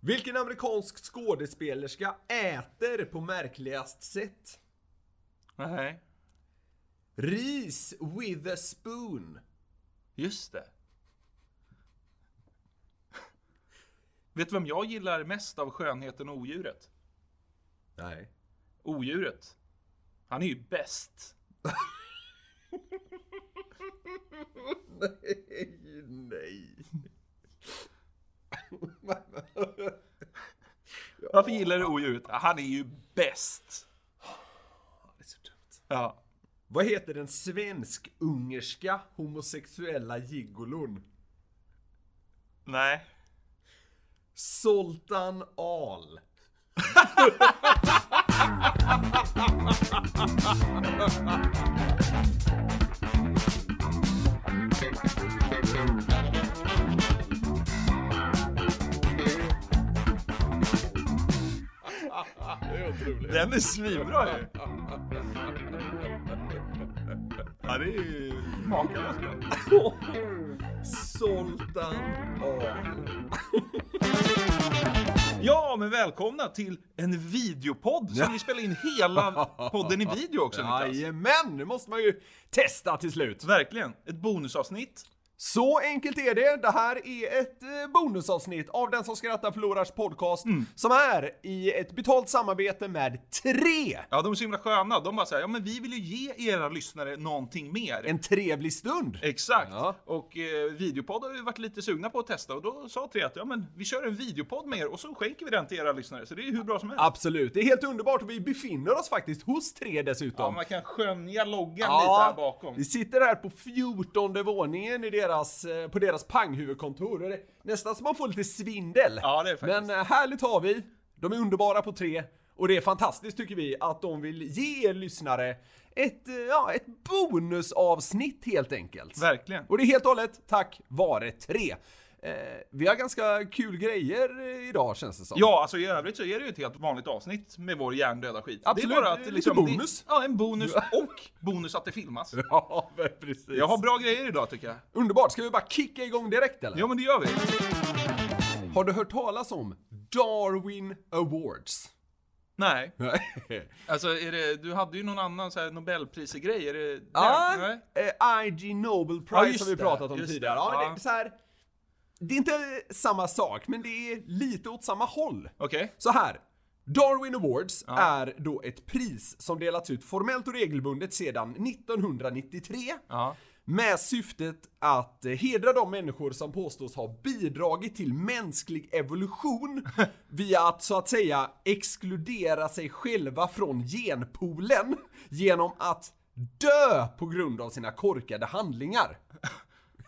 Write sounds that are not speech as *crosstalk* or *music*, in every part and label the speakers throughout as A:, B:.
A: Vilken amerikansk skådespelerska äter på märkligast sätt?
B: Nej.
A: Ris with a spoon.
B: Just det. Vet du vem jag gillar mest av Skönheten och Odjuret? *laughs*
A: Nej.
B: Odjuret. Han är ju bäst.
A: Nej, nej.
B: Varför gillar du Odjuret? Han är ju bäst.
A: Det är så dumt.
B: Ja.
A: Vad heter den svensk-ungerska homosexuella gigolon?
B: Nej.
A: Zoltan Al. Det är otroligt.
B: Den är svinbra ju. Ja, det är ju makalöst bra.
A: Zoltan Al.
B: Ja, men välkomna till en videopodd som vi spelar in hela podden i video också Niklas.
A: Jajamän, nu måste man ju testa till slut.
B: Verkligen. Ett bonusavsnitt.
A: Så enkelt är det. Det här är ett eh, bonusavsnitt av Den som skrattar förlorars podcast
B: Mm.
A: som är i ett betalt samarbete med tre.
B: Ja, de är så himla sköna. De bara säger, ja men vi vill ju ge era lyssnare någonting mer.
A: En trevlig stund.
B: Exakt.
A: Ja.
B: Och eh, videopodd har vi varit lite sugna på att testa och då sa Tre att ja, men vi kör en videopodd med er och så skänker vi den till era lyssnare. Så det är ju hur bra som helst.
A: Absolut, det är helt underbart och vi befinner oss faktiskt hos tre dessutom.
B: Ja, man kan skönja loggan
A: Ja,
B: lite här bakom.
A: Vi sitter här på 14 våningen i deras, eh, på deras panghuvudkontor. Och det, nästan som man får lite svindel.
B: Ja, det är faktiskt.
A: Men eh, härligt har vi. De är underbara på tre. Och det är fantastiskt tycker vi att de vill ge er lyssnare ett, eh, ja, ett bonusavsnitt helt enkelt.
B: Verkligen.
A: Och det är helt och hållet tack vare tre. Eh, vi har ganska kul grejer eh, idag känns det som.
B: Ja, alltså i övrigt så är det ju ett helt vanligt avsnitt med vår hjärndöda skit.
A: Absolut,
B: det är bara att
A: lite
B: liksom,
A: bonus.
B: Det, ja, en bonus och bonus att det filmas.
A: *laughs* ja men precis.
B: Jag har bra grejer idag tycker jag.
A: Underbart, ska vi bara kicka igång direkt eller?
B: Ja, men det gör vi.
A: Har du hört talas om Darwin
B: *laughs*
A: Awards?
B: Nej,
A: Nej.
B: alltså är det, du hade ju någon annan så här Nobelprisgrej. Är det den?
A: Ja,
B: Nej.
A: eh, IG Nobel
B: Ja,
A: Prize
B: just
A: har vi
B: det,
A: pratat om
B: just det.
A: tidigare. Ja,
B: Ja.
A: Det, är så här, det är inte samma sak, men det är lite åt samma håll.
B: Okej.
A: Så här. Darwin Awards är då ett pris som delats ut formellt och regelbundet sedan 1993
B: Ja.
A: med syftet att eh, hedra de människor som påstås ha bidragit till mänsklig
B: *laughs*
A: evolution via att så att säga exkludera sig själva från genpoolen genom att dö på grund av sina korkade handlingar.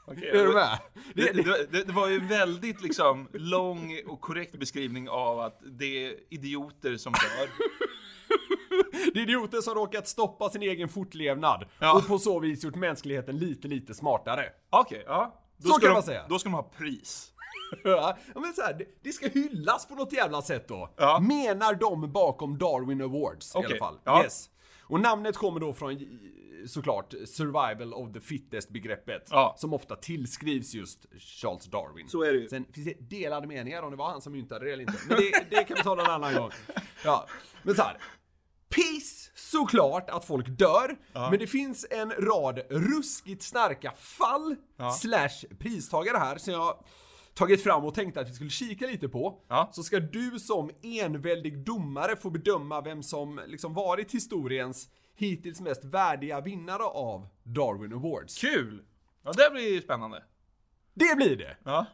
B: Okej,
A: Är du med?
B: Det, det, det, det var ju en väldigt liksom, lång och korrekt beskrivning av att det är idioter som *laughs* dör.
A: Det är idioter som råkat stoppa sin egen fortlevnad
B: Ja.
A: och på så vis gjort mänskligheten lite, lite smartare.
B: Okej, ja. Då
A: Så
B: ska
A: kan
B: de,
A: man säga.
B: Då ska de ha pris.
A: Ja, men så här, det, det ska hyllas på något jävla sätt då.
B: Ja.
A: Menar de bakom Darwin Awards i
B: Okej,
A: alla fall.
B: ja.
A: Yes. Och namnet kommer då från eh, såklart survival of the fittest begreppet.
B: Ja.
A: Som ofta tillskrivs just Charles Darwin.
B: Så är det ju.
A: Sen finns det delade meningar om det var han som myntade det eller inte. Men det, det kan vi tala en annan gång. Ja. Men så här. Piss såklart att folk dör, men det finns en rad ruskigt starka fall slash pristagare här som jag tagit fram och tänkte att vi skulle kika lite på.
B: Ja.
A: Så ska du som enväldig domare få bedöma vem som liksom varit historiens hittills mest värdiga vinnare av Darwin Awards.
B: Kul! Ja, det blir ju spännande.
A: Det blir det!
B: Ja.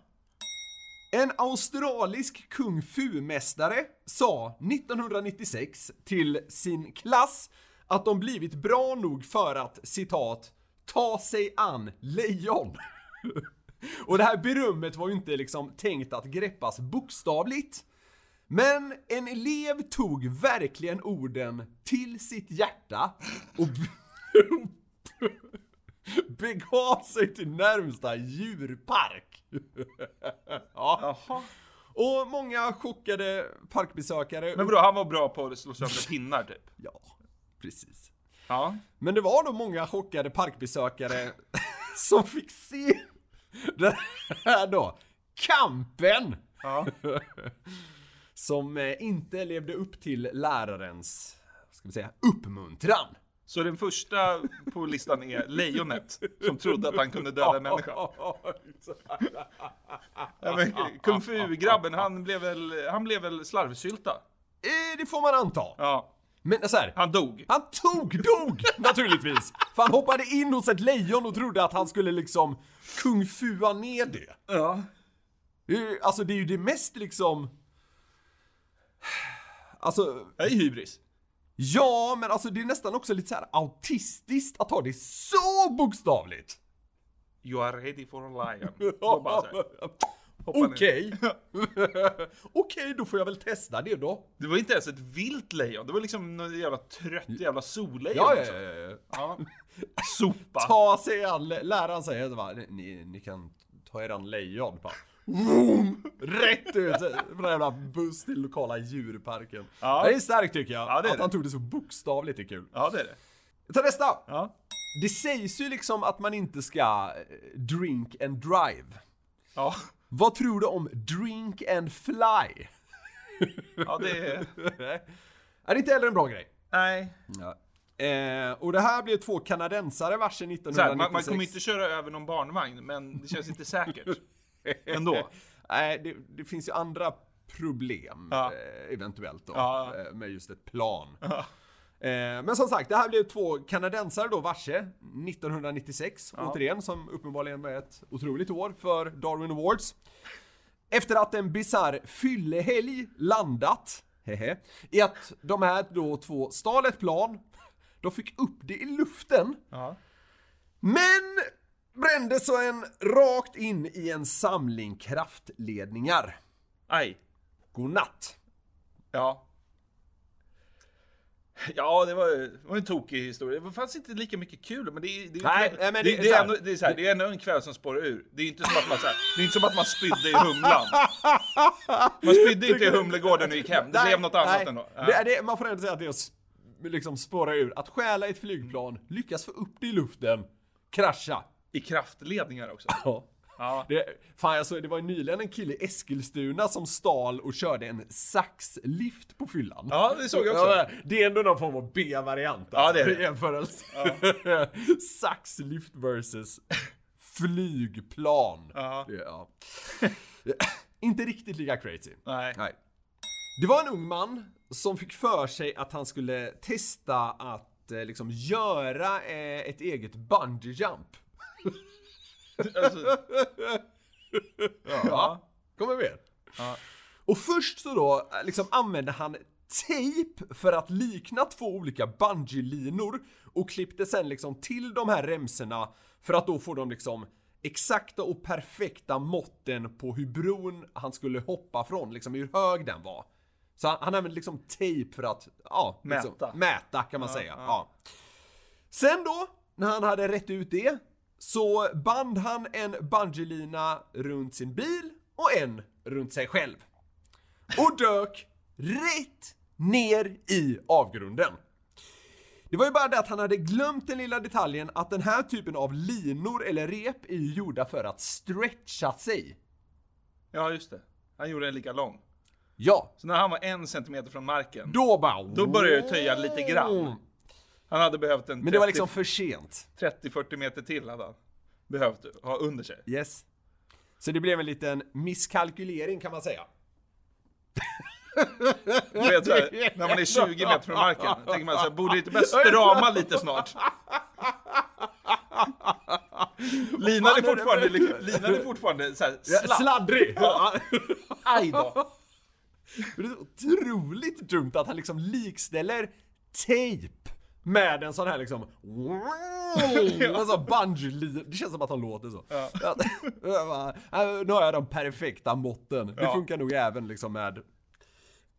A: En australisk kung fu-mästare sa 1996 till sin klass att de blivit bra nog för att, citat, ta sig an lejon. *laughs* Och det här berömmet var ju inte liksom tänkt att greppas bokstavligt. Men en elev tog verkligen orden till sitt hjärta och *laughs* begav sig till närmsta djurpark.
B: Jaha.
A: Och många chockade parkbesökare.
B: Men vadå, han var bra på att slå sönder pinnar typ?
A: Ja, precis.
B: Ja.
A: Men det var då många chockade parkbesökare *laughs* som fick se den här då kampen
B: Ja.
A: som eh, inte levde upp till lärarens, vad ska vi säga, uppmuntran.
B: Så den första på listan är lejonet, som trodde att han kunde döda
A: *laughs*
B: en människa.
A: Eh,
B: Ja, men Kung Fu-grabben, han blev väl, han blev väl slarvsylta?
A: Eh, Det får man anta.
B: Ja,
A: Men så här,
B: han dog.
A: han tog dog naturligtvis! För han hoppade in hos ett lejon och trodde att han skulle liksom kung fua ner det.
B: Ja.
A: Det är ju- Alltså det är ju det mest liksom... Alltså,
B: Det är hybris.
A: ja men alltså det är nästan också lite så här autistiskt att ta det så bokstavligt.
B: You are ready for a *laughs* lion. Och bara så här.
A: Okej.
B: ner. *laughs*
A: Okej, då får jag väl testa det då.
B: Det var inte ens ett vilt lejon, det var liksom någon jävla trött jävla sollejon.
A: Ja, ja,
B: också.
A: ja, ja. ja.
B: ja.
A: *laughs*
B: Sopa.
A: Ta sig an, läraren säger så bara, ni, ni kan ta er an lejon. Bara, vroom, rätt ut från en jävla buss till lokala djurparken.
B: Ja.
A: Det är starkt tycker jag.
B: Ja, det är
A: att han
B: det.
A: tog det så bokstavligt är kul.
B: Ja, det är det.
A: Ta nästa!
B: Ja.
A: Det sägs ju liksom att man inte ska eh, drink and drive.
B: Ja.
A: Vad tror du om drink and fly?
B: ja, det är...
A: är det inte heller en bra grej?
B: Nej.
A: Eh, och det här blev två kanadensare varsin
B: Så
A: 1996.
B: här, man, man kommer inte köra över någon barnvagn, men det känns
A: *laughs*
B: inte säkert. Ändå.
A: Nej, det, det finns ju andra problem
B: Ja.
A: eh, eventuellt då
B: Ja.
A: eh, med just ett plan. Eh, men som sagt, det här blev två kanadensare då varse 1996 återigen som uppenbarligen var ett otroligt år för Darwin Awards. Efter att en bisarr fyllehelg landat hehe, i att de här då två stal ett plan, de fick upp det i luften
B: Ja.
A: men brände så en rakt in i en samling kraftledningar.
B: Aj.
A: Godnatt.
B: Ja. Ja, det var, det var en tokig historia. Det fanns inte lika mycket kul, men det är det är-
A: Nej,
B: det
A: nej,
B: är-
A: men
B: det
A: det är så
B: är
A: här-
B: ändå- det är så här, det är ändå en kväll som spårar ur. Det är inte som att man, så här, det är inte som att man spydde i Humlan. Man
A: *laughs*
B: spydde inte i Humlegården och gick hem. Det blev något annat ändå. Ja.
A: Det, är det, man får ändå säga att det är att sp- liksom spåra ur. Att stjäla ett flygplan, lyckas få upp det i luften, krascha.
B: I kraftledningar också.
A: Ja.
B: Ja.
A: Det, fan, jag såg, det var ju nyligen en kille i Eskilstuna som stal och körde en saxlift på fyllan.
B: Ja, det såg jag också.
A: Ja, det är ändå någon form av B-variant alltså,
B: Ja, det är det.
A: i jämförelse. *laughs* Saxlift versus flygplan.
B: Ja.
A: Det- ja. *laughs* Inte riktigt lika crazy.
B: Nej.
A: Nej. Det var en ung man som fick för sig att han skulle testa att eh, liksom göra eh, ett eget bungee jump.
B: Alltså, ja.
A: Kommer med.
B: Ja.
A: Och först så då eh, liksom använde han tejp för att likna två olika bungee-linor och klippte sen liksom till de här remserna för att då få de liksom exakta och perfekta måtten på hur bron han skulle hoppa från, liksom hur hög den var. Så han, han använde liksom tejp för att, ja, liksom,
B: Mäta.
A: mäta kan man säga. Ja. Sen då, när han hade rätt ut det, så band han en bungelina runt sin bil och en runt sig själv. Och dök rätt ner i avgrunden. Det var ju bara det att han hade glömt den lilla detaljen att den här typen av linor eller rep är ju gjorda för att stretcha sig.
B: ja, just det. Han gjorde den lika lång.
A: Ja,
B: Så när han var en centimeter från marken,
A: då bara...
B: då började jag töja lite grann. Han hade behövt en
A: Men det var liksom för sent.
B: 30-40 meter till hade han behövt ha under sig.
A: Yes. Så det blev en liten misskalkylering kan man säga.
B: Du vet, så här, när man är 20 meter från *laughs* marken, tänker man så här, borde det inte börja strama lite *laughs* snart? Linan är
A: fan är
B: fortfarande,
A: det?
B: liksom- linan är fortfarande så här,
A: Ja,
B: slapp.
A: Sladdrig! Ja.
B: Aj då.
A: Det är så otroligt dumt att han liksom likställer tejp med en sån här liksom... Alltså bungee Det känns som att han låter så.
B: Ja.
A: Att- jag bara, *laughs* äh, nu har jag de perfekta måtten. Det
B: Ja.
A: funkar nog även liksom med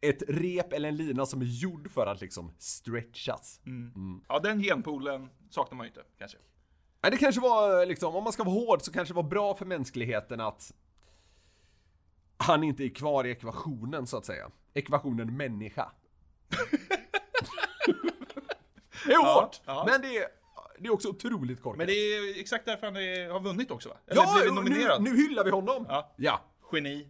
A: ett rep eller en lina som är gjord för att liksom stretchas.
B: Ja, den genpoolen saknar man ju inte, kanske.
A: Nej, det kanske var liksom, om man ska vara hård så kanske det var bra för mänskligheten att han inte är kvar i ekvationen så att säga. Ekvationen
B: *laughs*
A: människa. det är
B: Ja,
A: hårt!
B: ja.
A: Men det är, det är också otroligt korkat.
B: Men det är exakt därför han är, har vunnit också va? Eller
A: ja,
B: blivit
A: nu,
B: nominerad.
A: nu hyllar vi honom!
B: Ja.
A: ja.
B: Geni.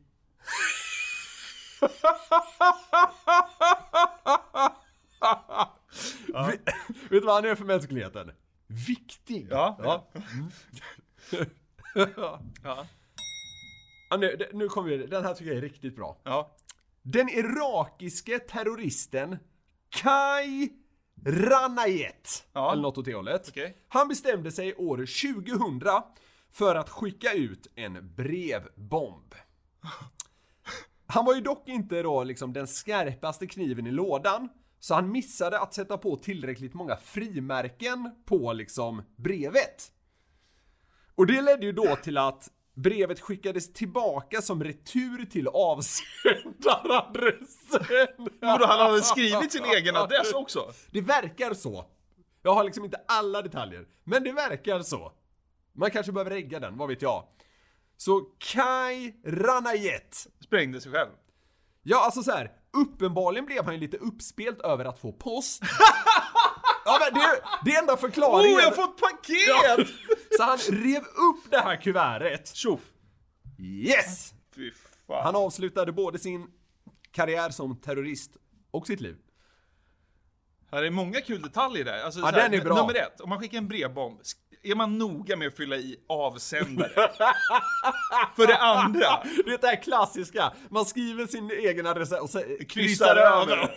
A: Vi, *laughs* vet du vad han är för mänskligheten? Viktig.
B: Ja.
A: Ja.
B: *laughs* Ja.
A: Ja, nu, nu kommer vi, den här tycker jag är riktigt bra.
B: ja.
A: Den irakiske terroristen Kai Ranayet,
B: Ja.
A: eller något åt det hållet.
B: Okej.
A: Han bestämde sig år 2000 för att skicka ut en brevbomb. Han var ju dock inte då liksom den skarpaste kniven i lådan, så han missade att sätta på tillräckligt många frimärken på liksom brevet. Och det ledde ju då till att brevet skickades tillbaka som retur till avsändaradressen.
B: Vadå, han hade skrivit sin egen adress också?
A: Det verkar så. Jag har liksom inte alla detaljer, men det verkar så. Man kanske behöver regga den, vad vet jag. Så Kai Ranayet.
B: Sprängde sig själv.
A: Ja, alltså så här. Uppenbarligen blev han ju lite uppspelt över att få post. *laughs* ja, men det, det är enda
B: Oh,
A: förklaringen.
B: jag har
A: *laughs*
B: fått paket!
A: Så han rev upp det här kuvertet.
B: Tjoff!
A: Yes!
B: Fy fan.
A: Han avslutade både sin karriär som terrorist och sitt liv.
B: Ja, det är många kul detaljer där. Alltså,
A: Ja,
B: så här,
A: den är bra.
B: Nummer ett, om man skickar en brevbomb, sk- är man noga med att fylla i avsändare? För det andra,
A: Det är klassiska, man skriver sin egen adress och så,
B: kryssar över.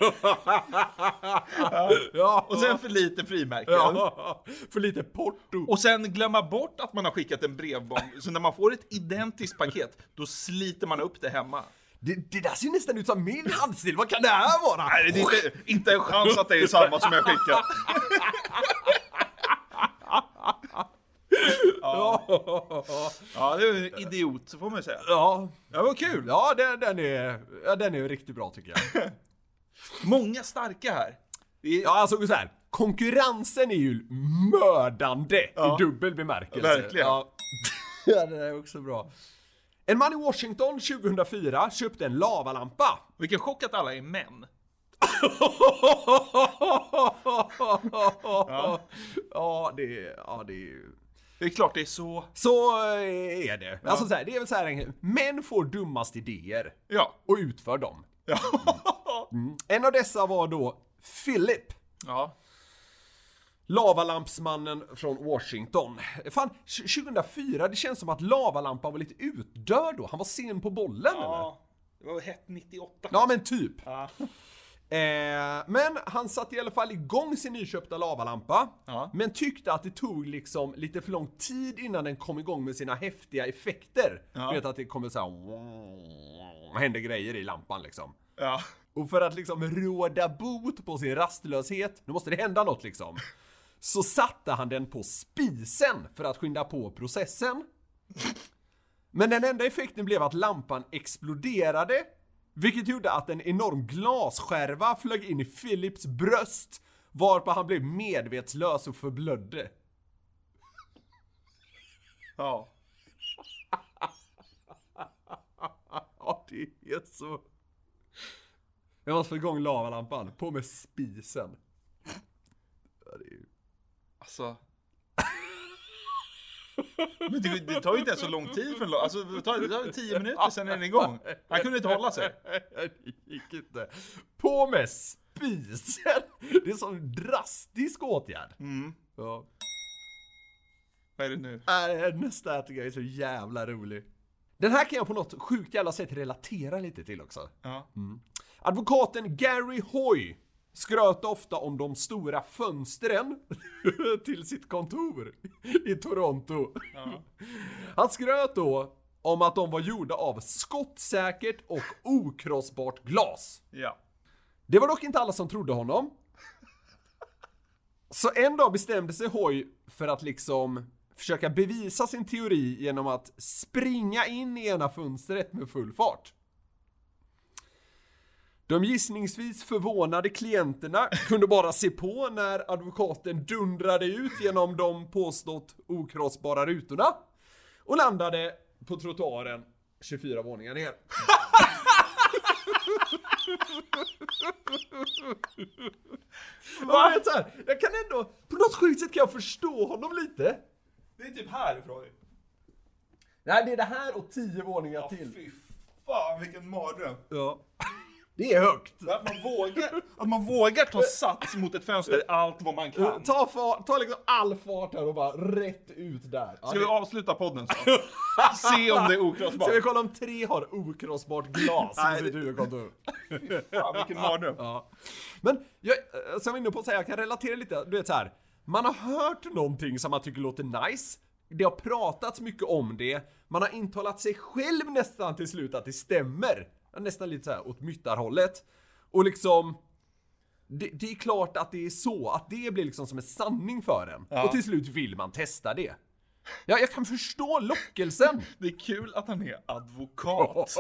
A: Ja,
B: Och sen för lite frimärken.
A: ja, för lite porto.
B: Och sen glömma bort att man har skickat en brevbomb. Så när man får ett identiskt paket, då sliter man upp det hemma.
A: Det, det där ser nästan ut som min handstil, vad kan det här vara?
B: Nej, det är inte, inte en chans att det är samma som jag skickat. Ja, det är en idiot, så får man ju säga.
A: Ja,
B: Ja, vad kul!
A: ja den, den, är, ja, den är riktigt bra tycker jag.
B: Många starka här. Det är,
A: Ja, alltså så här. Konkurrensen är ju mördande
B: Ja.
A: i dubbel bemärkelse.
B: Verkligen.
A: Ja. *laughs* ja, det där är också bra. En man i Washington 2004 köpte en lavalampa.
B: Vilken chock att alla är män.
A: ja. *laughs* ja, det är... Ja, det är...
B: Det är klart det är så.
A: Så eh, är det. Alltså så här, det är väl så här, en- män får dummast idéer
B: Ja.
A: och utför dem.
B: Ja.
A: Mm. En av dessa var då Philip.
B: ja.
A: Lavalampsmannen från Washington. Fan, 2004, det känns som att lavalampan var lite utdöd då. Han var sen på bollen eller?
B: Det var hett 98.
A: Ja men typ.
B: Ja.
A: Eh, men han satte i alla fall igång sin nyköpta lavalampa.
B: Ja.
A: Men tyckte att det tog liksom lite för lång tid innan den kom igång med sina häftiga effekter.
B: Ja.
A: Du vet att det kommer så här... Händer grejer i lampan liksom.
B: Ja.
A: Och för att liksom råda bot på sin rastlöshet, nu måste det hända något liksom. Så satte han den på spisen för att skynda på processen. Men den enda effekten blev att lampan exploderade, vilket gjorde att en enorm glasskärva flög in i Philips bröst, varpå han blev medvetslös och förblödde.
B: ja.
A: Ja, det är så... Jag måste få igång lavalampan, på med spisen. Ja, det är...
B: Alltså. Men det, det tar ju inte ens så lång tid för en lo- Alltså det tar, det tar 10 minuter sen är den igång. Han kunde inte hålla sig.
A: Nej, det *laughs* gick inte. På med spisen! *laughs* Det är en sån drastisk åtgärd.
B: Mm.
A: Ja.
B: Vad är det nu?
A: Äh, Nästa här tycker jag är så jävla rolig. Den här kan jag på något sjukt jävla sätt relatera lite till också.
B: Ja.
A: Advokaten Gary Hoy skröt ofta om de stora fönstren *laughs* till sitt kontor i Toronto.
B: Ja.
A: *laughs* Han skröt då om att de var gjorda av skottsäkert och okrossbart glas.
B: ja.
A: Det var dock inte alla som trodde honom. Så en dag bestämde sig Hoy för att liksom försöka bevisa sin teori genom att springa in i ena fönstret med full fart. De gissningsvis förvånade klienterna kunde bara se på när advokaten dundrade ut genom de påstått okrossbara rutorna och landade på trottoaren 24 våningar ner. Jag, vet, så här, jag kan ändå, på något sjukt sätt kan jag förstå honom lite.
B: Det är typ härifrån.
A: Nej, det är det här och tio våningar
B: Ja,
A: till.
B: fy fan vilken mardröm.
A: Ja. Det är högt.
B: Att man, *laughs* vågar, att man vågar ta sats mot ett fönster allt vad man kan.
A: Eh, Ta, far, ta liksom all fart här och bara rätt ut där. Ja,
B: Ska vi
A: det-
B: avsluta *laughs* podden så? Se om det är okrossbart.
A: Ska vi kolla om tre har okrossbart glas
B: Nej,
A: i sitt
B: det-
A: huvudkontor?
B: Fan vilken mardröm.
A: Ja. Men jag, eh, som jag var inne på att säga, jag kan relatera lite. Du vet så här. man har hört någonting som man tycker låter nice. Det har pratats mycket om det. Man har intalat sig själv nästan till slut att det stämmer. Nästan lite så här åt myttarhållet. Och liksom... Det, det är klart att det är så, att det blir liksom som en sanning för en.
B: Ja.
A: Och till slut vill man testa det. Ja, jag kan förstå lockelsen.
B: Det är kul att han är advokat.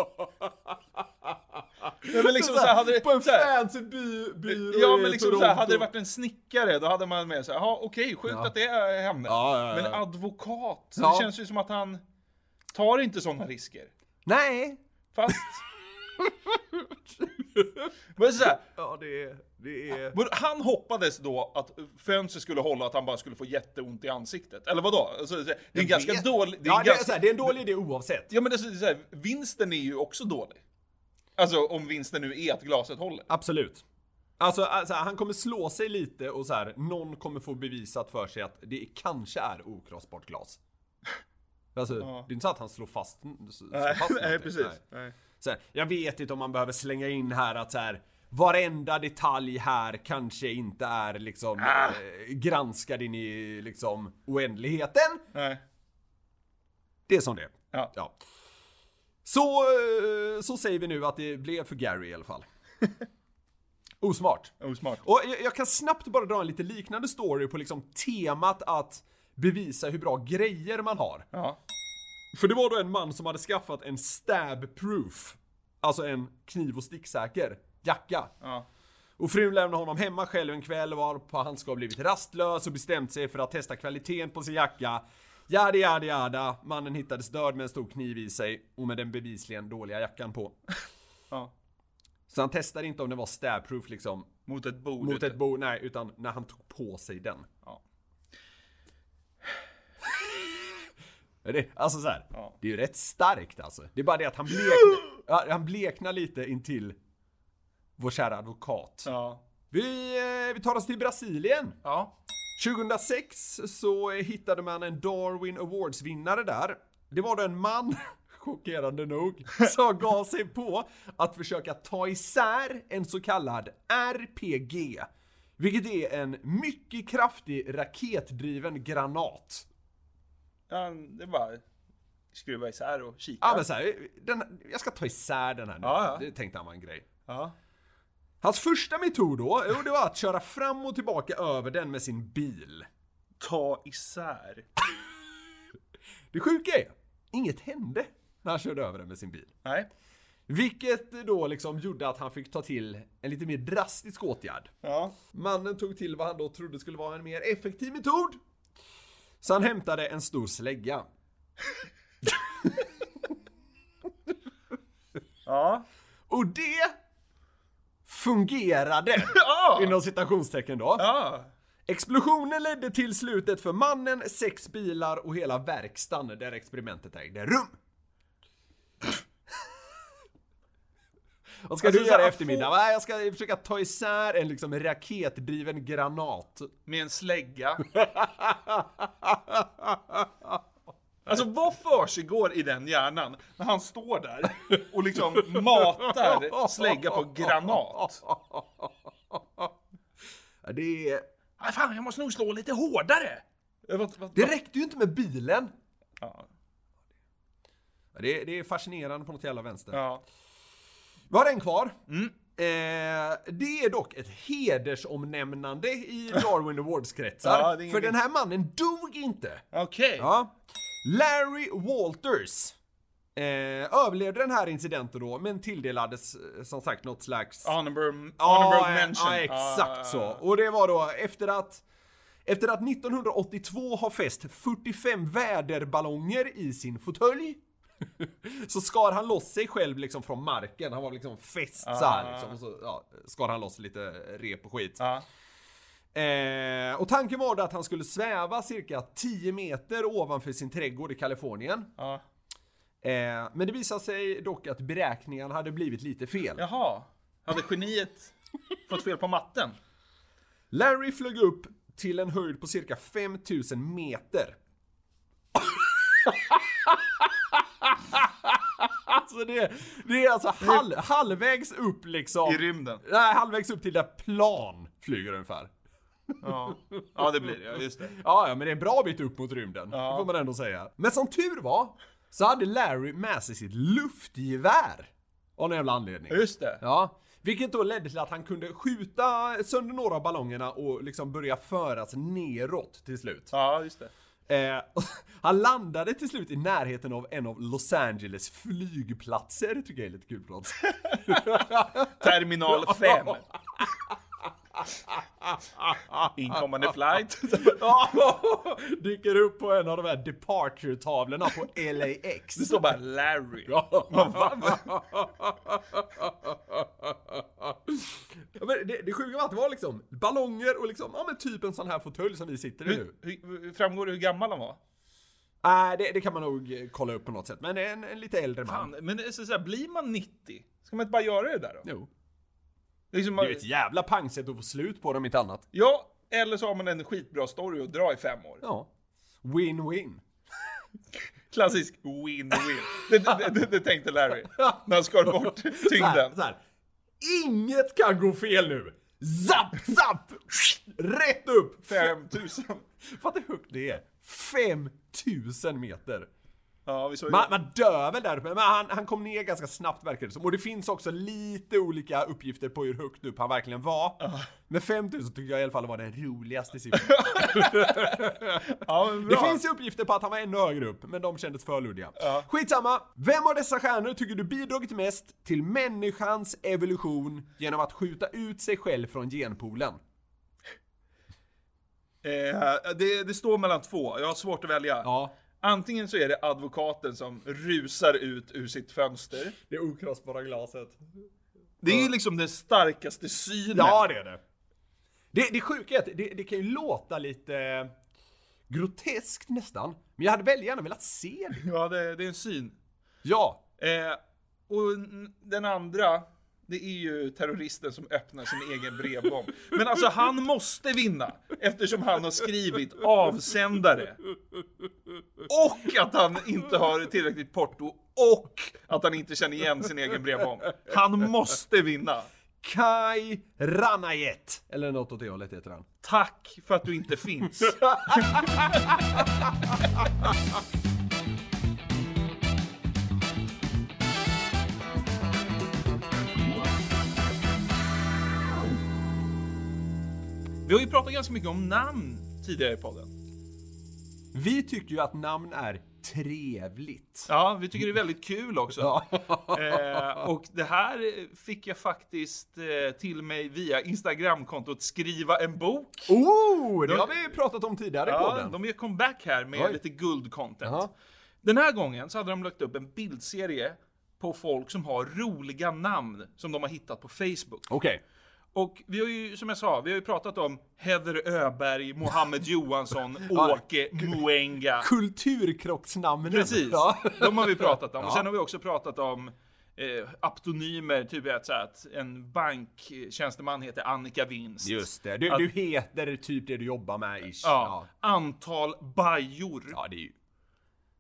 B: Nej, men liksom så här, hade
A: *laughs*
B: det,
A: på en
B: så här,
A: fancy by, byrå
B: Ja
A: i
B: men liksom
A: Toronto.
B: så här, hade det varit en snickare då hade man med sig, jaha okej, sjukt
A: Ja.
B: att det är henne.
A: Ja, ja, ja.
B: Men advokat,
A: Ja.
B: det känns ju som att han tar inte sådana risker.
A: Nej!
B: Fast... *laughs* men så här,
A: Ja, det är... Det är...
B: men han hoppades då att fönstret skulle hålla och att han bara skulle få jätteont i ansiktet. Eller vadå? Alltså, det är en ganska
A: vet.
B: dålig... Det är
A: Ja,
B: en
A: det är,
B: ganska,
A: så här, det är en dålig idé oavsett.
B: ja men det är så här, vinsten är ju också dålig. Alltså om vinsten nu är att glaset håller.
A: Absolut. Alltså, alltså, han kommer slå sig lite och så här, någon kommer få bevisat för sig att det kanske är okrossbart glas. Alltså, det är inte så att han slår fast, slår fast
B: *laughs* Nej
A: någonting.
B: precis.
A: Nej.
B: Nej.
A: Så här, jag vet inte om man behöver slänga in här att så här, varenda detalj här kanske inte är liksom
B: Ah.
A: eh, granskad in i liksom oändligheten.
B: Nej.
A: Det är som det är.
B: Ja.
A: Ja. Så, eh, så säger vi nu att det blev för Gary i alla fall. Osmart.
B: Osmart.
A: Och jag, jag kan snabbt bara dra en lite liknande story på liksom temat att bevisa hur bra grejer man har.
B: Ja.
A: För det var då en man som hade skaffat en stab-proof. Alltså en kniv och sticksäker jacka.
B: Ja.
A: Och frun lämnade honom hemma själv en kväll varpå han ska ha blivit rastlös och bestämt sig för att testa kvaliteten på sin jacka. Jada, jada, jada. Mannen hittades död med en stor kniv i sig och med den bevisligen dåliga jackan på.
B: ja.
A: Så han testade inte om den var stabproof liksom
B: Mot ett bord.
A: mot
B: ute.
A: ett bo, nej, utan när han tog på sig den.
B: Ja.
A: Är Det, alltså så här,
B: Ja.
A: det är ju rätt starkt alltså. Det är bara det att han bleknar, ja,
B: *gasps*
A: han bleknar lite intill vår kära advokat.
B: Ja.
A: Vi, eh, vi tar oss till Brasilien.
B: Ja.
A: 2006 så hittade man en Darwin Awards-vinnare där. Det var då en man, *laughs* chockerande nog,
B: *laughs*
A: som gav sig på att försöka ta isär en så kallad RPG. Vilket är en mycket kraftig raketdriven granat.
B: ja. Det är bara skruva isär och kika.
A: Ja men såhär, den- jag ska ta isär den här nu.
B: Ja, ja.
A: Det tänkte han var en grej.
B: ja.
A: Hans första metod då, jo, det var att köra fram och tillbaka över den med sin bil.
B: Ta isär.
A: Det sjuka är, inget hände när han körde över den med sin bil.
B: Nej.
A: Vilket då liksom gjorde att han fick ta till en lite mer drastisk åtgärd.
B: Ja.
A: Mannen tog till vad han då trodde skulle vara en mer effektiv metod. Så han hämtade en stor slägga.
B: Ja.
A: Och det fungerade!
B: Ja.
A: Inom citationstecken då.
B: Ja.
A: Explosionen ledde till slutet för mannen, sex bilar och hela verkstaden där experimentet ägde rum. Vad ska
B: Alltså,
A: du
B: så
A: göra i
B: här,
A: eftermiddag? Nej, jag ska försöka ta isär en liksom raketdriven granat.
B: Med en *laughs* slägga. Alltså vad försiggår i den hjärnan när han står där och liksom matar slägga på granat?
A: Ja, Det,
B: Ah, fan, jag måste nog slå lite hårdare! Eh, vad- vad-
A: det räckte ju inte med bilen.
B: Ja.
A: Ja, Det, det är fascinerande på något jävla vänster.
B: ja.
A: Vi har en kvar.
B: Mm.
A: Eh, det är dock ett hedersomnämnande
B: *laughs*
A: i Darwin Awards-kretsar.
B: Ja, det är ingen
A: för
B: bil.
A: den här mannen dog inte.
B: Okej.
A: Ja. Larry Walters eh, överlevde den här incidenten då, men tilldelades eh, som sagt något slags...
B: Honorable,
A: Ja,
B: honorable
A: eh,
B: mention.
A: Ja, exakt
B: Ah.
A: så. Och det var då efter att efter att 1982 har fäst 45 väderballonger i sin fåtölj *laughs* så skar han loss sig själv liksom från marken. Han var liksom fäst så här liksom. Och så ja, skar han loss lite rep och skit.
B: Ja.
A: Eh, och tanken var då att han skulle sväva cirka 10 meter ovanför sin trädgård i Kalifornien.
B: Ja.
A: Eh, Eh, men det visade sig dock att beräkningarna hade blivit lite fel.
B: Jaha. Hade geniet fått fel på matten?
A: Larry flög upp till en höjd på cirka 5000 meter. *laughs* alltså det, det är alltså halv, halvvägs upp liksom.
B: I rymden?
A: Nej, halvvägs upp till där plan flyger ungefär.
B: Ja, ja det blir det. Ja, just det.
A: Ja, ja, men det är en bra bit upp mot rymden.
B: Ja.
A: Det får man ändå säga. Men som tur var, så hade Larry med sig sitt luftgevär. Av någon jävla anledning.
B: Ja, Just det.
A: Ja, vilket då ledde till att han kunde skjuta sönder några av ballongerna och liksom börja föras neråt till slut.
B: Ja, just det.
A: Eh, *laughs* han landade till slut i närheten av en av Los Angeles flygplatser, tycker jag är lite kul på något sätt. *laughs*
B: Terminal 5. Inkommande flight.
A: Ja, Dyker upp på en av de här departure-tavlorna på LAX. *laughs*
B: Det står bara Larry.
A: Ja. men det, det sjuka var att det var liksom ballonger och liksom, ja men typ en sån här fåtölj som vi sitter i nu.
B: Hur, hur, hur framgår det hur gammal han var?
A: Nej, det, det kan man nog eh, kolla upp på något sätt. Men en, en lite äldre man.
B: Fan, men det är så så här, blir man 90? Ska man inte bara göra det där då?
A: Jo.
B: Liksom,
A: Det
B: man,
A: är ju ett jävla pangsätt att få slut på dem, inte annat.
B: ja, eller så har man en skitbra story att dra i fem år.
A: Ja. Win-win.
B: Klassisk win-win. Det, det, det, det tänkte Larry. När han skar bort
A: Så här,
B: tyngden.
A: så här. Inget kan gå fel nu! Zapp, zapp! Rätt upp!
B: 5000.
A: Fatta hur högt det är. 5000 meter.
B: Ja, vi såg ju
A: Man, man dör väl där uppe, men han, han kom ner ganska snabbt verkar det som. Och det finns också lite olika uppgifter på hur högt upp han verkligen var. Men 5000 tyckte jag i alla fall var den roligaste siffran.
B: Ja, men
A: det
B: bra.
A: finns uppgifter på att han var ännu högre upp, men de kändes för luddiga.
B: Ja.
A: Skitsamma! Vem av dessa stjärnor tycker du bidragit mest till människans evolution genom att skjuta ut sig själv från genpoolen?
B: Eh, det, det står mellan två. Jag har svårt att välja.
A: Ja,
B: Antingen så är det advokaten som rusar ut ur sitt fönster.
A: det okrossbara glaset.
B: Det är ju liksom den starkaste synen.
A: Ja, det är det. Det, det sjuka är att det, det kan ju låta lite groteskt nästan, men jag hade väl gärna velat se det.
B: Ja, det, det är en syn.
A: Ja,
B: Eh, och n- den andra, det är ju terroristen som öppnar sin egen brevbomb. Men alltså han måste vinna, eftersom han har skrivit avsändare. Och att han inte har tillräckligt porto, och att han inte känner igen sin egen brevbomb. Han måste vinna.
A: Kai Ranajet, eller något åt det hållet heter han.
B: Tack för att du inte *laughs* finns. Vi har ju pratat ganska mycket om namn tidigare i podden.
A: Vi tycker ju att namn är trevligt.
B: Ja, vi tycker det är väldigt kul också.
A: Ja. *laughs*
B: Eh, och det här fick jag faktiskt eh, till mig via Instagramkontot Skriva en bok.
A: Oh, det har vi pratat om tidigare i
B: Ja,
A: podden.
B: de gör comeback här med
A: Oj.
B: lite guld-content.
A: Jaha.
B: Den här gången så hade de lagt upp en bildserie på folk som har roliga namn som de har hittat på Facebook.
A: Okej.
B: Och vi har ju, som jag sa, vi har ju pratat om Heather Öberg, Mohammed Johansson,
A: *laughs* Ja.
B: Åke Mwenga.
A: Kulturkrocksnamnen.
B: Precis,
A: Ja.
B: de har vi pratat om.
A: Ja.
B: Och sen har vi också pratat om eh, aptonymer, typ att, så här, att en banktjänsteman heter Annika Winst.
A: Just det, du,
B: Att-
A: du heter typ det du jobbar med ish.
B: Ja. Antal bajor.
A: Ja, det är ju...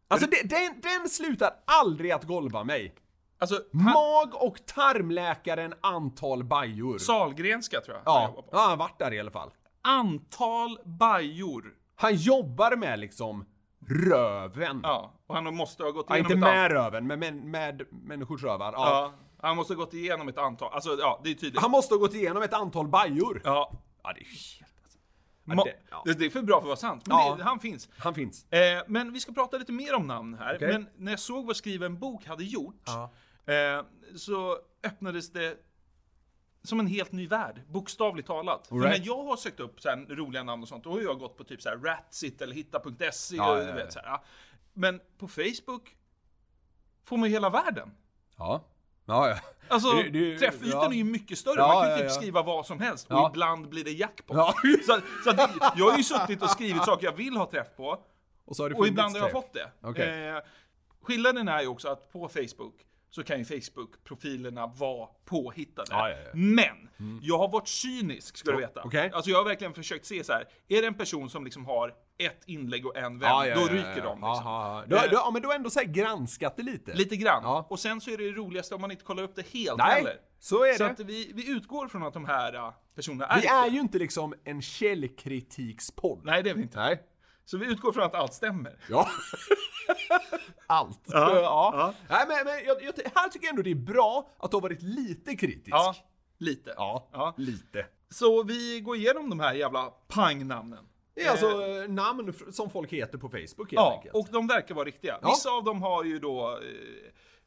A: Alltså det, den, den slutar aldrig att golva mig.
B: Alltså,
A: Mag och tarmläkaren antal bajor.
B: Salgrenska tror jag. han jobbar
A: ja,
B: på.
A: ja, han har varit där i alla fall.
B: Antal bajor.
A: Han jobbar med liksom röven. Ja,
B: Ja, och han måste ha gått igenom
A: inte
B: ett
A: med röven, men med, med människors rövar. Ja.
B: antal. Ja, han måste ha gått igenom ett antal. Alltså, ja, det är tydligt.
A: Han måste ha gått igenom ett antal bajor.
B: Ja.
A: Ja, det är helt... Alltså.
B: Ma-
A: det- ja.
B: det, det är för bra för att vara sant, men
A: Ja.
B: det, han finns.
A: Han finns.
B: Eh, men vi ska prata lite mer om namn här.
A: Okej.
B: Men när jag såg vad Skriva en bok hade gjort,
A: Ja.
B: eh, så öppnades det som en helt ny värld, bokstavligt talat. För
A: Alright.
B: när jag har sökt upp så här roliga namn och sånt, då har jag gått på typ så här Ratsit eller Hitta.se
A: Ja,
B: E och
A: ja,
B: du
A: ja.
B: vet så här. ja. Men på Facebook får man ju hela världen.
A: Ja. Ja, ja.
B: Alltså,
A: Det- det-
B: träffytan
A: ja.
B: är ju mycket större.
A: Ja,
B: man kan ju
A: ja,
B: typ
A: ja.
B: skriva vad som helst
A: Ja.
B: och ibland blir det jackpot.
A: Ja.
B: *laughs* Så, så att, det- jag har ju suttit och skrivit saker jag vill ha träff på
A: Och så har det
B: och
A: funnits
B: ibland har jag
A: träff.
B: fått det.
A: Okej.
B: Eh, Skillnaden är ju också att på Facebook så kan ju Facebook-profilerna vara påhittade.
A: Ja, ja, ja.
B: Men, jag har varit cynisk ska du veta.
A: Okej.
B: Alltså jag har verkligen försökt se så här. är det en person som liksom har ett inlägg och en vän,
A: Ja, ja,
B: då
A: ja, ja,
B: ryker
A: ja.
B: de. Liksom.
A: Aha, ja. Du, du, ja, men du har ändå så här granskat det lite.
B: Lite grann.
A: Ja.
B: Och sen så är det det roligaste om man inte kollar upp det helt
A: Nej,
B: heller.
A: så är
B: Så
A: det.
B: att vi, vi utgår från att de här äh, personerna är...
A: Vi är ju inte liksom en källkritikspodd.
B: Nej, det är vi inte.
A: Nej.
B: Så vi utgår från att allt stämmer.
A: Ja. *laughs* Allt. Ja. Nej, men, men jag, jag, här tycker jag ändå det är bra att du har varit lite kritisk.
B: Ja, lite.
A: Ja,
B: Ja.
A: lite.
B: Så vi går igenom de här jävla pangnamnen.
A: Det är alltså eh, namn fr- som folk heter på Facebook helt
B: Ja,
A: enkelt.
B: och de verkar vara riktiga.
A: Oh Ja.
B: Vissa av dem har ju då eh,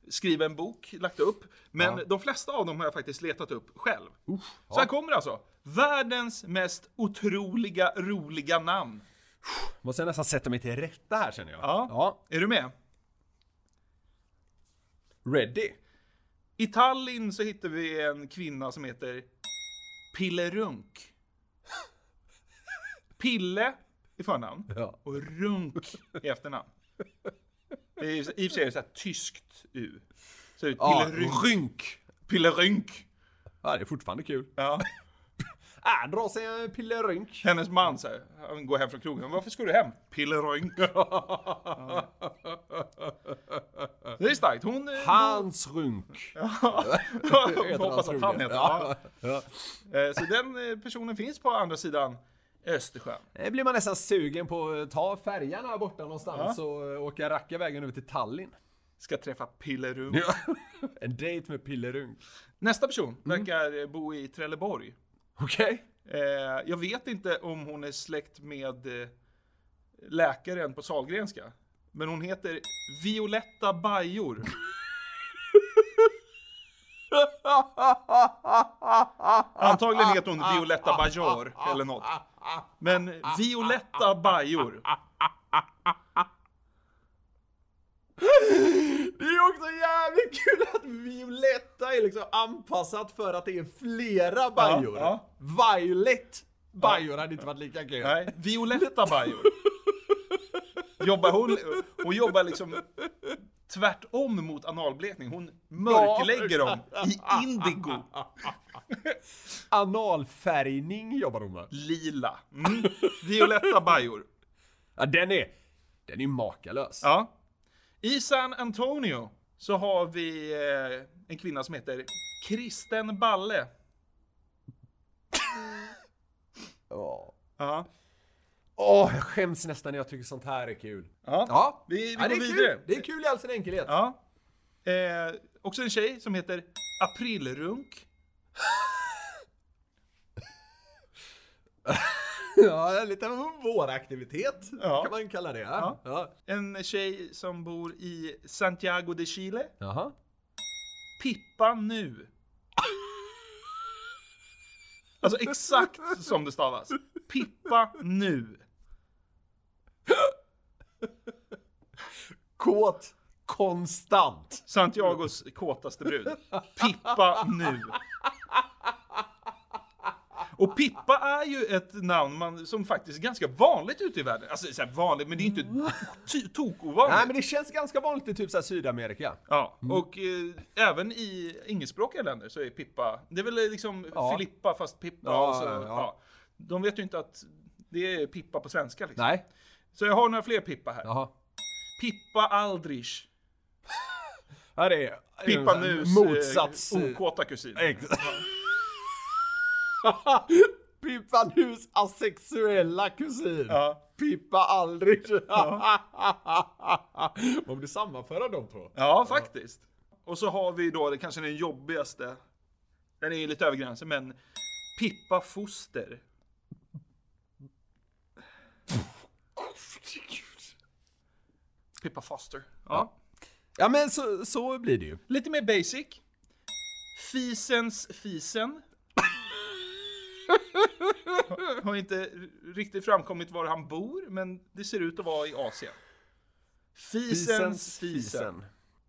B: skrivit en bok, lagt upp. Men
A: Ja. Oh.
B: de flesta av dem har jag faktiskt letat upp själv. Så här kommer det alltså. Världens mest otroliga, roliga namn.
A: Måste jag nästan sätta mig till rätta här känner jag.
B: Ja. Är du med?
A: Ready?
B: I Tallinn så hittar vi en kvinna som heter Pillerunk. Pille i förnamn
A: Ja.
B: och Runk i efternamn. Det är, I och för sig är det så här tyskt U. Så det är Pillerunk.
A: rynk.
B: Pillerunk.
A: Ja, det är fortfarande kul.
B: Ja.
A: Äh, dra sig en pillerynk.
B: Hennes man så här, han går hem från krogen. Varför ska du hem? Pillerunk. Det är starkt. Hon... eh,
A: Hans runk.
B: *laughs* Jag hoppas att han heter ja.
A: Ja.
B: Eh, Så den eh, personen finns på andra sidan Östersjön.
A: Det Eh, blir man nästan sugen på att ta färjan här borta någonstans och eh, åka racka vägen över till Tallinn.
B: Ska träffa Pillerunk.
A: en dejt med pillerunk.
B: Nästa person verkar eh, bo i Trelleborg.
A: Okej. *laughs*
B: Eh, jag vet inte om hon är släkt med eh, läkaren på Sahlgrenska. Men hon heter Violetta Bajor. Antagligen heter hon Violetta Bajor eller något. Men Violetta Bajor.
A: Det är också jävligt kul att Violetta är liksom anpassat för att det är flera bajor.
B: ja.
A: Violet bajor hade inte varit lika kul.
B: Nej, Violetta Bajor. Jobbar hon, hon jobbar liksom tvärtom mot analblekning. Hon mörklägger dem i indigo.
A: Analfärgning jobbar hon med.
B: Lila. Mm. Violetta Bajor.
A: Ja, den är... Den är makalös.
B: Ja. I San Antonio så har vi eh, en kvinna som heter Kristen Balle.
A: Ja.
B: Ja.
A: Åh, jag skäms nästan när jag tycker sånt här är kul.
B: Ja.
A: Ja,
B: Vi- vi
A: ja, det
B: går
A: är
B: vidare.
A: Kul. Det är kul i all sin enkelhet.
B: ja. Eh, också en tjej som heter Aprilrunk.
A: *laughs* Ja, lite av våraktivitet
B: Ja.
A: kan man kalla det. Ja.
B: Ja.
A: Ja.
B: En tjej som bor i Santiago de Chile.
A: Jaha.
B: Pippa nu. Alltså exakt som det stavas. Pippa nu.
A: Kåt konstant.
B: Santiagos kåtaste brud. Pippa nu. Och Pippa är ju ett namn man, som faktiskt är ganska vanligt ute i världen. Alltså så här vanligt, men det är inte to- tokovanligt.
A: Nej, men det känns ganska vanligt i typ så här Sydamerika.
B: Ja, och eh, även i engelskspråkiga länder så är Pippa, det är väl liksom
A: Ja.
B: Filippa fast Pippa.
A: Ja,
B: och så,
A: ja,
B: ja,
A: ja.
B: De vet ju inte att det är Pippa på svenska liksom.
A: Nej.
B: Så jag har några fler Pippa här.
A: Jaha.
B: Pippa Aldrich.
A: Ja, det är
B: Pippa Nus. eh,
A: Motsats.
B: Okåta kusin.
A: Ex- *laughs* Pippa Nus asexuella kusin.
B: Ja.
A: Pippa aldrig. *laughs* Vad om du sammanföra de två?
B: Ja, faktiskt. Och så har vi då det kanske den jobbigaste. Den är ju lite över gränsen, men Pippa Foster. Pippa Foster. Ja.
A: Ja, men så, så blir det ju.
B: Lite mer basic. Fisens *laughs* Fisen. Har- Har inte riktigt framkommit var han bor, men det ser ut att vara i Asien. Fisens Fisen.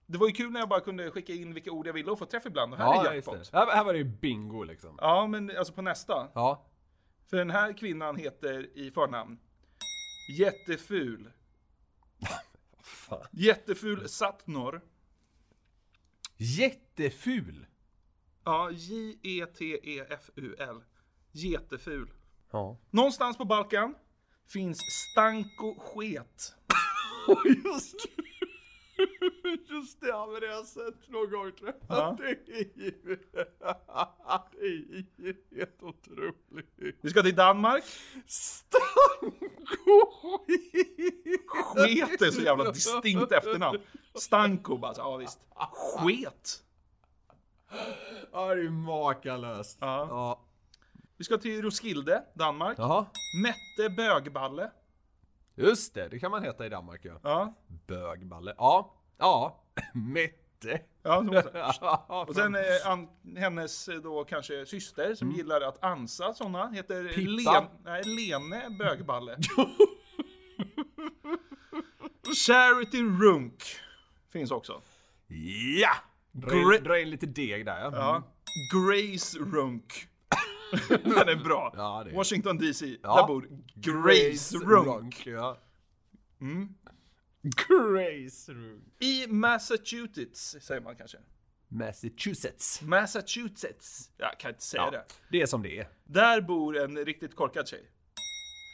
B: Det var ju kul när jag bara kunde skicka in vilka ord jag ville och få träff ibland. Och här
A: Ja,
B: är
A: just
B: jackpot.
A: det. Här, här var det ju bingo liksom.
B: Ja, men alltså på nästa.
A: Ja.
B: För den här kvinnan heter i förnamn Jätteful.
A: Fan.
B: Jätteful Satnor.
A: Jätteful.
B: Ja, E J-E-T-E-F-U-L. Jätteful.
A: Ja.
B: Någonstans på Balkan finns Stanko Sket.
A: *laughs* just det. Just det, ja, men det har jag sett någon gång tror jag.
B: Ja.
A: *laughs* Det är ju... *laughs* Det är ju helt otroligt.
B: Vi ska till Danmark.
A: Stanko
B: Sket är så jävla distinkt efternamn. Stanko bara, så, ja visst. Sket.
A: Ja, det är ju makalöst.
B: Ja.
A: Ja.
B: Vi ska till Roskilde, Danmark.
A: Jaha.
B: Mette Bögballe.
A: Just det, det kan man heta i Danmark ja.
B: Ja.
A: Bögballe. Ja. Ja. *laughs* Mette.
B: ja så måste jag.
A: Och
B: Och sen eh, an, hennes eh, då kanske syster
A: Mm.
B: som gillar att ansa såna heter
A: Pippa.
B: Len, nej, Lene
A: *laughs*
B: Bögballe. Charity Runk finns också.
A: Ja! Dra in,
B: Gre-
A: dra in lite deg där ja.
B: Ja.
A: *laughs*
B: Grace Runk. Den är bra.
A: Ja, det är-
B: Washington DC,
A: Ja.
B: där bor Grace, Runk. Mm.
A: ja. Grace Runk.
B: I Massachusetts, säger man kanske.
A: Massachusetts.
B: Massachusetts. Jag kan inte säga det.
A: det är som det är.
B: Där bor en riktigt korkad tjej.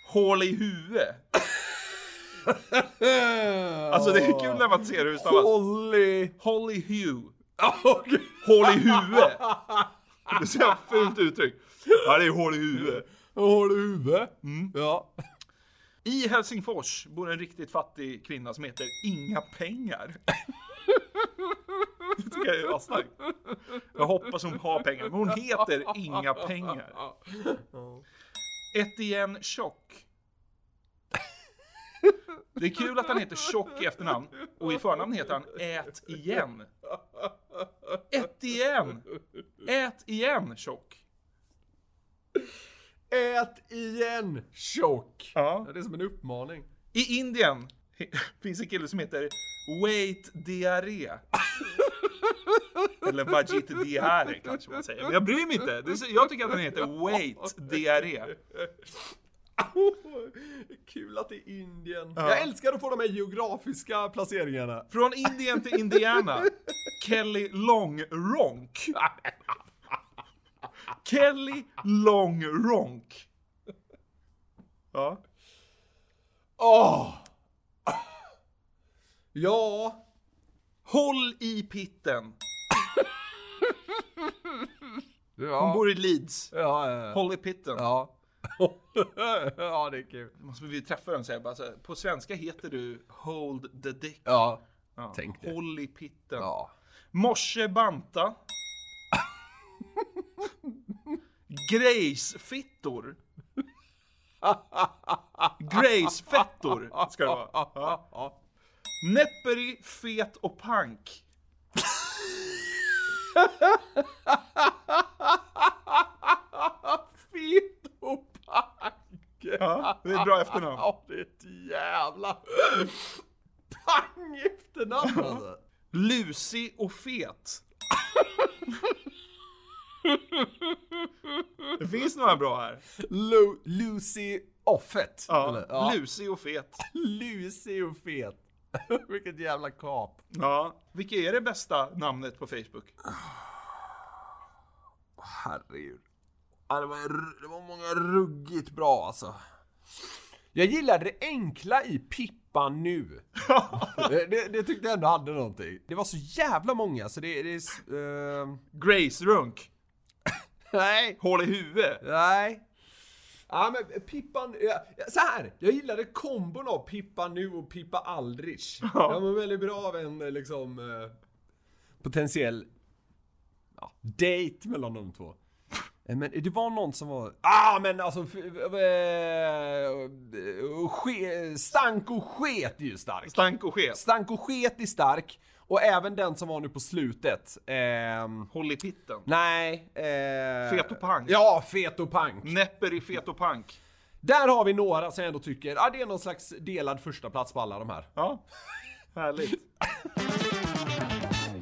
B: Hål i huvudet. Alltså det är kul när man ser hur det stavas.
A: Holly...
B: Holly Hugh.
A: Okej.
B: Hål i huvudet. Det är så jävla fult uttryck. Ja, det är hål i huvudet.
A: Hål i huvudet.
B: Mm.
A: Ja.
B: I Helsingfors bor en riktigt fattig kvinna som heter Inga Pengar. Det tycker jag är asstarkt. Jag hoppas hon har pengar, men hon heter Inga Pengar. Etienne Tjock. Det är kul att han heter Tjock i efternamn och i förnamn heter han Ät igen. Etienne! Ät igen Tjock.
A: Ät igen, tjock.
B: Ja.
A: Ja, Det är som en uppmaning.
B: I Indien *laughs* finns en kille som heter Wait Diarré. Eller Vajit Diarré kanske man säger. Men jag bryr mig inte. Det är- Jag tycker att den heter Wait Diarré.
A: Kul att det är Indien.
B: Ja.
A: Jag älskar att få de här geografiska placeringarna.
B: Från Indien till Indiana. Kelly Long Ronk. Kelly Long Ronk. Ja.
A: Åh! Ja,
B: Håll i pitten.
A: Ja.
B: Hon bor i Leeds.
A: Ja, ja,
B: Håll i pitten.
A: ja. *laughs* Ja. ja, det är kul.
B: Måste vi träffa den och säga bara så här, på svenska heter du Hold the Dick.
A: Ja.
B: Ja.
A: Tänk det.
B: Håll i pitten.
A: Ja.
B: Morse Banta. Grejsfittor. Grejsfettor ska det vara. Ja. Näpperi, fet och pank.
A: Fitt och pank!
B: Ja, det är ett bra efternamn.
A: Ja, det är ett jävla pang efternamn alltså.
B: Lusig och fet. Det finns några bra här.
A: Lu- Lucy Offet.
B: Ja,
A: eller? Ja.
B: Lusig och fet.
A: Lucy och fet. *laughs* Vilket jävla kap.
B: Ja. Vilket är det bästa namnet på Facebook?
A: Herregud. Ja, det, var, ru- det var många ruggigt bra alltså. Jag gillade det enkla i Pippa *laughs* nu. det, det- det tyckte jag ändå hade någonting. Det var så jävla många så det... det är s- ehm,
B: Grace Runk.
A: nej.
B: Hål i huvudet.
A: Nej. Ja men Pippa... Ja, så här. Jag gillade kombon av Pippa nu och Pippa aldrig. Jag mår väldigt bra av en eh, liksom... eh, potentiell... Ja, date mellan de två. Eh, Men det var någon som var... Ah men alltså... f- eh, ske, stank och sket är ju stark.
B: Stank och sket.
A: Stank och sket är stark. Och även den som var nu på slutet. ehm,
B: Håll i pitten.
A: Nej. Eh...
B: Fet och pank.
A: Ja, fet och pank.
B: Näpper i fet och pank.
A: Där har vi några som jag ändå tycker, ah, det är någon slags delad första plats på alla de här.
B: Ja. *laughs* Härligt.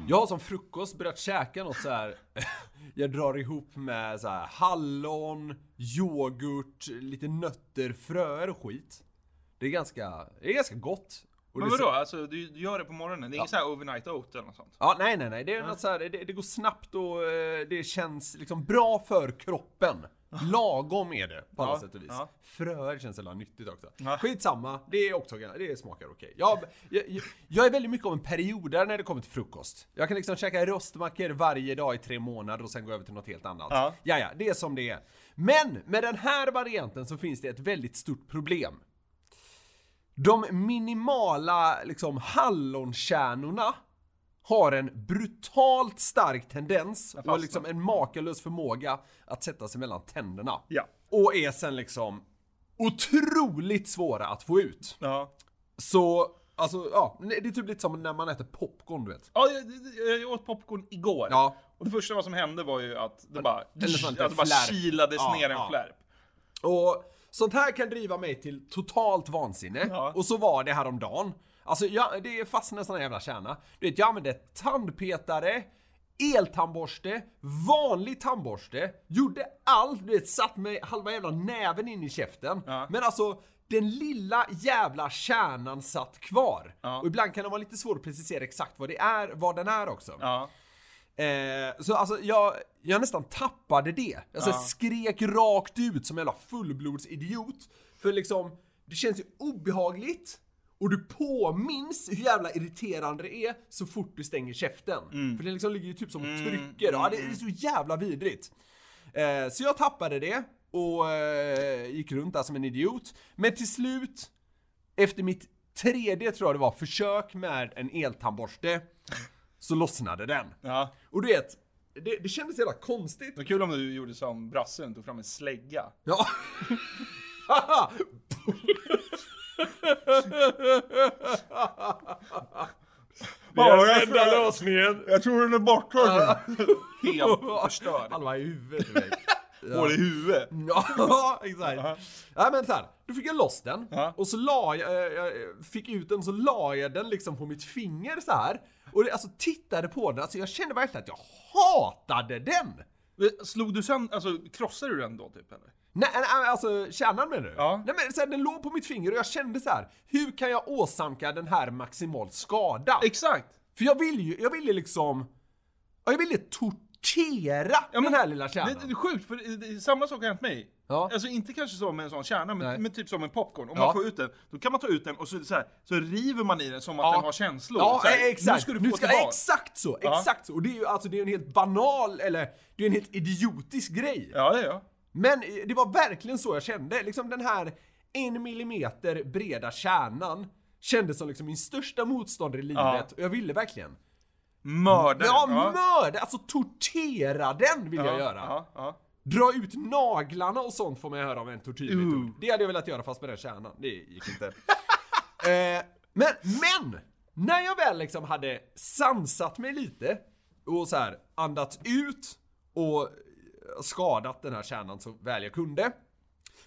A: Jag har som frukost börjat käka något så här. *laughs* jag drar ihop med så här hallon, yoghurt, lite nötter, fröer och skit. Det är ganska, det är ganska gott. Och
B: Men
A: det-
B: vadå, alltså du, du gör det på morgonen? Det är inget så här overnight oat eller något sånt?
A: Ja, nej, nej, nej. Det är något så här, det, det går snabbt och eh, det känns liksom bra för kroppen. Lagom är det på alla
B: Ja,
A: sätt och vis.
B: ja.
A: Fröer känns jävla nyttigt också.
B: Ja.
A: Skitsamma, det är också, det smakar okej. Jag, jag, jag- jag är väldigt mycket av en periodare när det kommer till frukost. Jag kan liksom käka rostmackor varje dag i tre månader och sen gå över till något helt annat.
B: Ja.
A: ja, det är som det är. Men med den här varianten så finns det ett väldigt stort problem. De minimala liksom hallonkärnorna har en brutalt stark tendens och
B: fastnar.
A: liksom en makalös förmåga att sätta sig mellan tänderna.
B: Ja.
A: Och är sen liksom otroligt svåra att få ut.
B: Ja.
A: Så, alltså ja, det är typ lite som när man äter popcorn du vet.
B: Ja, jag, jag- jag åt popcorn igår.
A: Ja.
B: Och det första vad som hände var ju att det bara,
A: Eller sånt där
B: att det bara
A: flärp.
B: kilades
A: Ja,
B: ner en
A: ja.
B: flärp.
A: Och sånt här kan driva mig till totalt vansinne.
B: Ja.
A: Och så var det häromdagen. Alltså jag, det fastnade en sån här jävla kärna. Du vet, jag använde tandpetare, eltandborste, vanlig tandborste. Gjorde allt, du vet, satt med halva jävla näven in i käften.
B: Ja.
A: Men alltså, den lilla jävla kärnan satt kvar.
B: Ja.
A: Och ibland kan det vara lite svårt att precisera exakt vad det är, vad den är också.
B: Ja.
A: Eh, så alltså jag, jag nästan tappade det. Jag så här
B: Ja.
A: skrek rakt ut som en jävla fullblodsidiot. För liksom, det känns ju obehagligt. Och du påminns hur jävla irriterande det är så fort du stänger käften. För det liksom ligger ju typ som och trycker. Ja, det är så jävla vidrigt. Eh, så jag tappade det och eh, gick runt där som en idiot. Men till slut, efter mitt tredje tror jag det var, försök med en eltandborste, så lossnade den.
B: ja.
A: Och du vet, det, det kändes jävla konstigt.
B: Det var kul om du gjorde som brassen, tog fram en slägga.
A: Ja. Haha. lösningen!
B: Jag tror den är borta. *laughs* Helt förstörd.
A: Han var i huvudet du vet. *laughs*
B: Hål i huvudet.
A: Ja, *laughs* exakt. Nej men såhär, då fick jag loss den.
B: Ja.
A: Och så la jag, eh, jag fick ut den så la jag den liksom på mitt finger så här. Och det, alltså tittade på den, alltså jag kände verkligen att jag hatade den!
B: Slog du sen, alltså krossade du den då typ eller?
A: Nej, nej, nej, alltså kärnan menar du?
B: Ja.
A: Nej men så här, den låg på mitt finger och jag kände så här. hur kan jag åsamka den här maximal skada?
B: Exakt!
A: För jag ville ju, jag ville liksom, ja, jag ville tortera
B: Ja, men-
A: den här lilla
B: Det,
A: kärnan.
B: det är sjukt, för det, det, samma sak har hänt mig.
A: Ja.
B: Alltså inte kanske så med en sån kärna,
A: Nej.
B: men, men typ som en popcorn. Om
A: Ja.
B: man får ut den, då kan man ta ut den och så, är det så, här, så river man i den som att
A: Ja.
B: den har känslor.
A: Ja,
B: så här,
A: eh, exakt!
B: Nu ska du få tillbaka.
A: exakt så,
B: Ja.
A: exakt så! Och det är ju alltså, det är en helt banal, eller det är en helt idiotisk grej.
B: Ja, det är jag.
A: Men eh, det var verkligen så jag kände. Liksom den här en millimeter breda kärnan kändes som liksom min största motståndare i livet
B: Ja.
A: och jag ville verkligen.
B: Mördare.
A: Ja, mörda! Alltså tortera den vill jag göra.
B: Ja, ja.
A: Dra ut naglarna och sånt får man höra om en tortyrmetod. Det hade jag velat göra fast med den kärnan. Det gick inte. *laughs* eh, men, men! När jag väl liksom hade sansat mig lite och så här andats ut och skadat den här kärnan så väl jag kunde.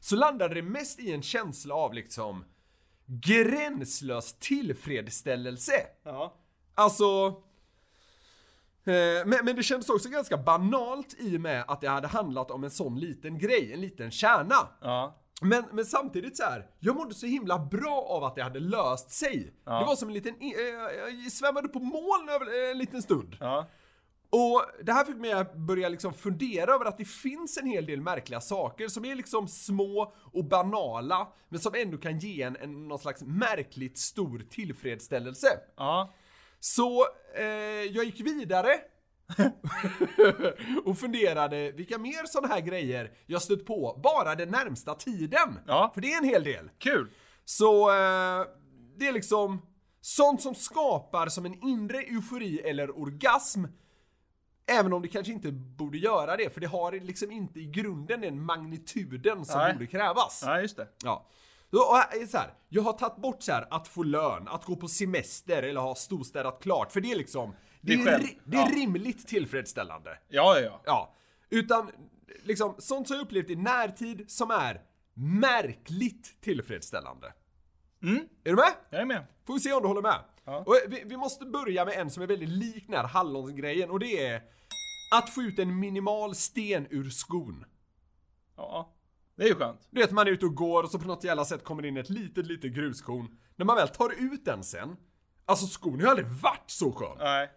A: Så landade det mest i en känsla av liksom gränslös tillfredsställelse.
B: ja.
A: Alltså... eh, Men, men det kändes också ganska banalt i och med att det hade handlat om en sån liten grej, en liten kärna.
B: ja.
A: Men, men samtidigt så här, jag mådde så himla bra av att det hade löst sig.
B: Ja.
A: Det var som en liten, eh, jag svämmade på moln över eh, en liten stund.
B: ja.
A: Och det här fick mig att börja liksom fundera över att det finns en hel del märkliga saker som är liksom små och banala, men som ändå kan ge en, en någon slags märkligt stor tillfredsställelse.
B: ja.
A: Så eh, jag gick vidare *laughs* och funderade vilka mer sådana här grejer jag stött på bara den närmsta tiden.
B: Ja.
A: För det är en hel del.
B: Kul!
A: Så eh, det är liksom sånt som skapar som en inre eufori eller orgasm. Även om det kanske inte borde göra det, för det har liksom inte i grunden den magnituden som
B: Nej.
A: borde krävas.
B: Ja, just det.
A: Ja. Så, och här är så här, jag har tagit bort så här att få lön, att gå på semester eller ha storstädat klart. För det är liksom, det,
B: Det är
A: är,
B: själv.
A: ri- det är
B: Ja.
A: rimligt tillfredsställande.
B: Ja, ja, ja.
A: Ja. Utan liksom sånt som jag upplevt i närtid som är märkligt tillfredsställande.
B: Mm,
A: Är du med?
B: jag är med.
A: Får vi se om du håller med.
B: Ja.
A: Och vi, vi måste börja med en som är väldigt lik den här hallonsgrejen och det är att få ut en minimal sten ur skon.
B: Ja. Det är ju skönt.
A: Du vet, man är ute och går och så på något jävla sätt kommer det in ett litet, litet gruskorn. När man väl tar ut den sen, alltså skon har ju aldrig varit så skön.
B: Nej.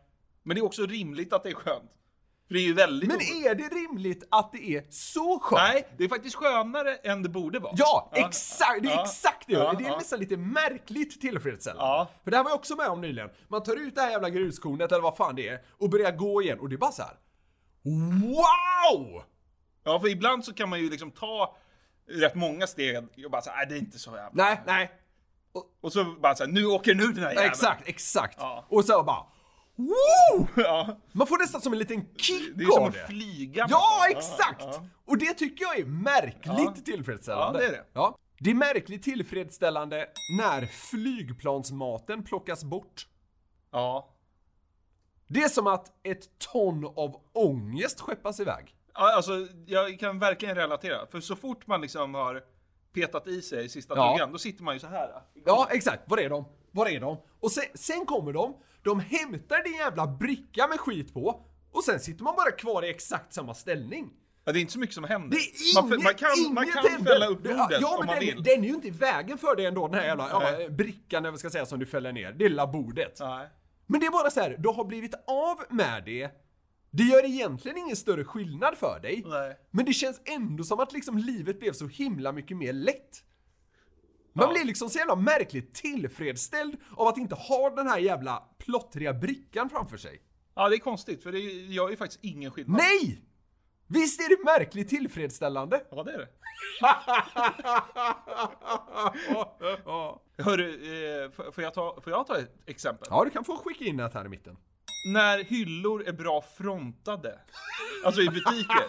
B: Men det är också rimligt att det är skönt. För det är ju väldigt
A: Men
B: oskönt.
A: är det rimligt att det är så skönt?
B: Nej, det är faktiskt skönare än det borde vara.
A: Ja, exakt! Det är
B: Ja.
A: exakt det jag
B: Ja,
A: gör. Det är
B: ja.
A: nästan lite märkligt tillfredsställande.
B: Ja.
A: För det här var jag också med om nyligen. Man tar ut det här jävla gruskornet eller vad fan det är och börjar gå igen och det är bara så här. Wow!
B: Ja, för ibland så kan man ju liksom ta rätt många steg och bara såhär, nej det är inte så jävla...
A: Nej, nej,
B: Och så bara såhär, nu åker den ur den här jäveln.
A: exakt, exakt.
B: Ja.
A: Och så bara Wow!
B: *laughs* Ja,
A: Man får nästan som en liten kick
B: det är som
A: av
B: att
A: det.
B: flyga.
A: Ja,
B: någonstans.
A: exakt!
B: Ja,
A: Och det tycker jag är märkligt tillfredsställande.
B: Ja, det är det.
A: Ja. Det är märkligt tillfredsställande när flygplansmaten plockas bort.
B: ja.
A: Det är som att ett ton av ångest skeppas iväg.
B: ja, alltså jag kan verkligen relatera. För så fort man liksom har petat i sig sista
A: Ja.
B: tuggan, då sitter man ju så här.
A: Ja, exakt. Var är de? Var är de? Och sen, sen kommer de, de hämtar din jävla bricka med skit på och sen sitter man bara kvar i exakt samma ställning.
B: Ja, det är inte så mycket som händer.
A: Det är
B: man,
A: inget,
B: f- man kan, man
A: inget
B: kan
A: händer.
B: fälla upp
A: Det-
B: bordet
A: ja,
B: om
A: men
B: man
A: den,
B: vill.
A: den är ju inte i vägen för dig ändå, den här jävla ja,
B: Nej.
A: brickan eller vad jag ska säga som du fäller ner. Det lilla bordet.
B: Nej.
A: Men det är bara så här, du har blivit av med det. Det gör egentligen ingen större skillnad för dig.
B: Nej.
A: Men det känns ändå som att liksom livet blev så himla mycket mer lätt. Man blir liksom så jävla märkligt tillfredsställd av att inte ha den här jävla plottriga brickan framför sig.
B: Ja, det är konstigt, för det gör ju faktiskt ingen skillnad.
A: Nej! Visst är det märkligt tillfredsställande?
B: Ja, det är det. *laughs* Hörru, eh, f- får jag, ta, får jag ta ett exempel?
A: Ja, du kan få skicka in ett här i mitten.
B: När hyllor är bra frontade. Alltså i butiker.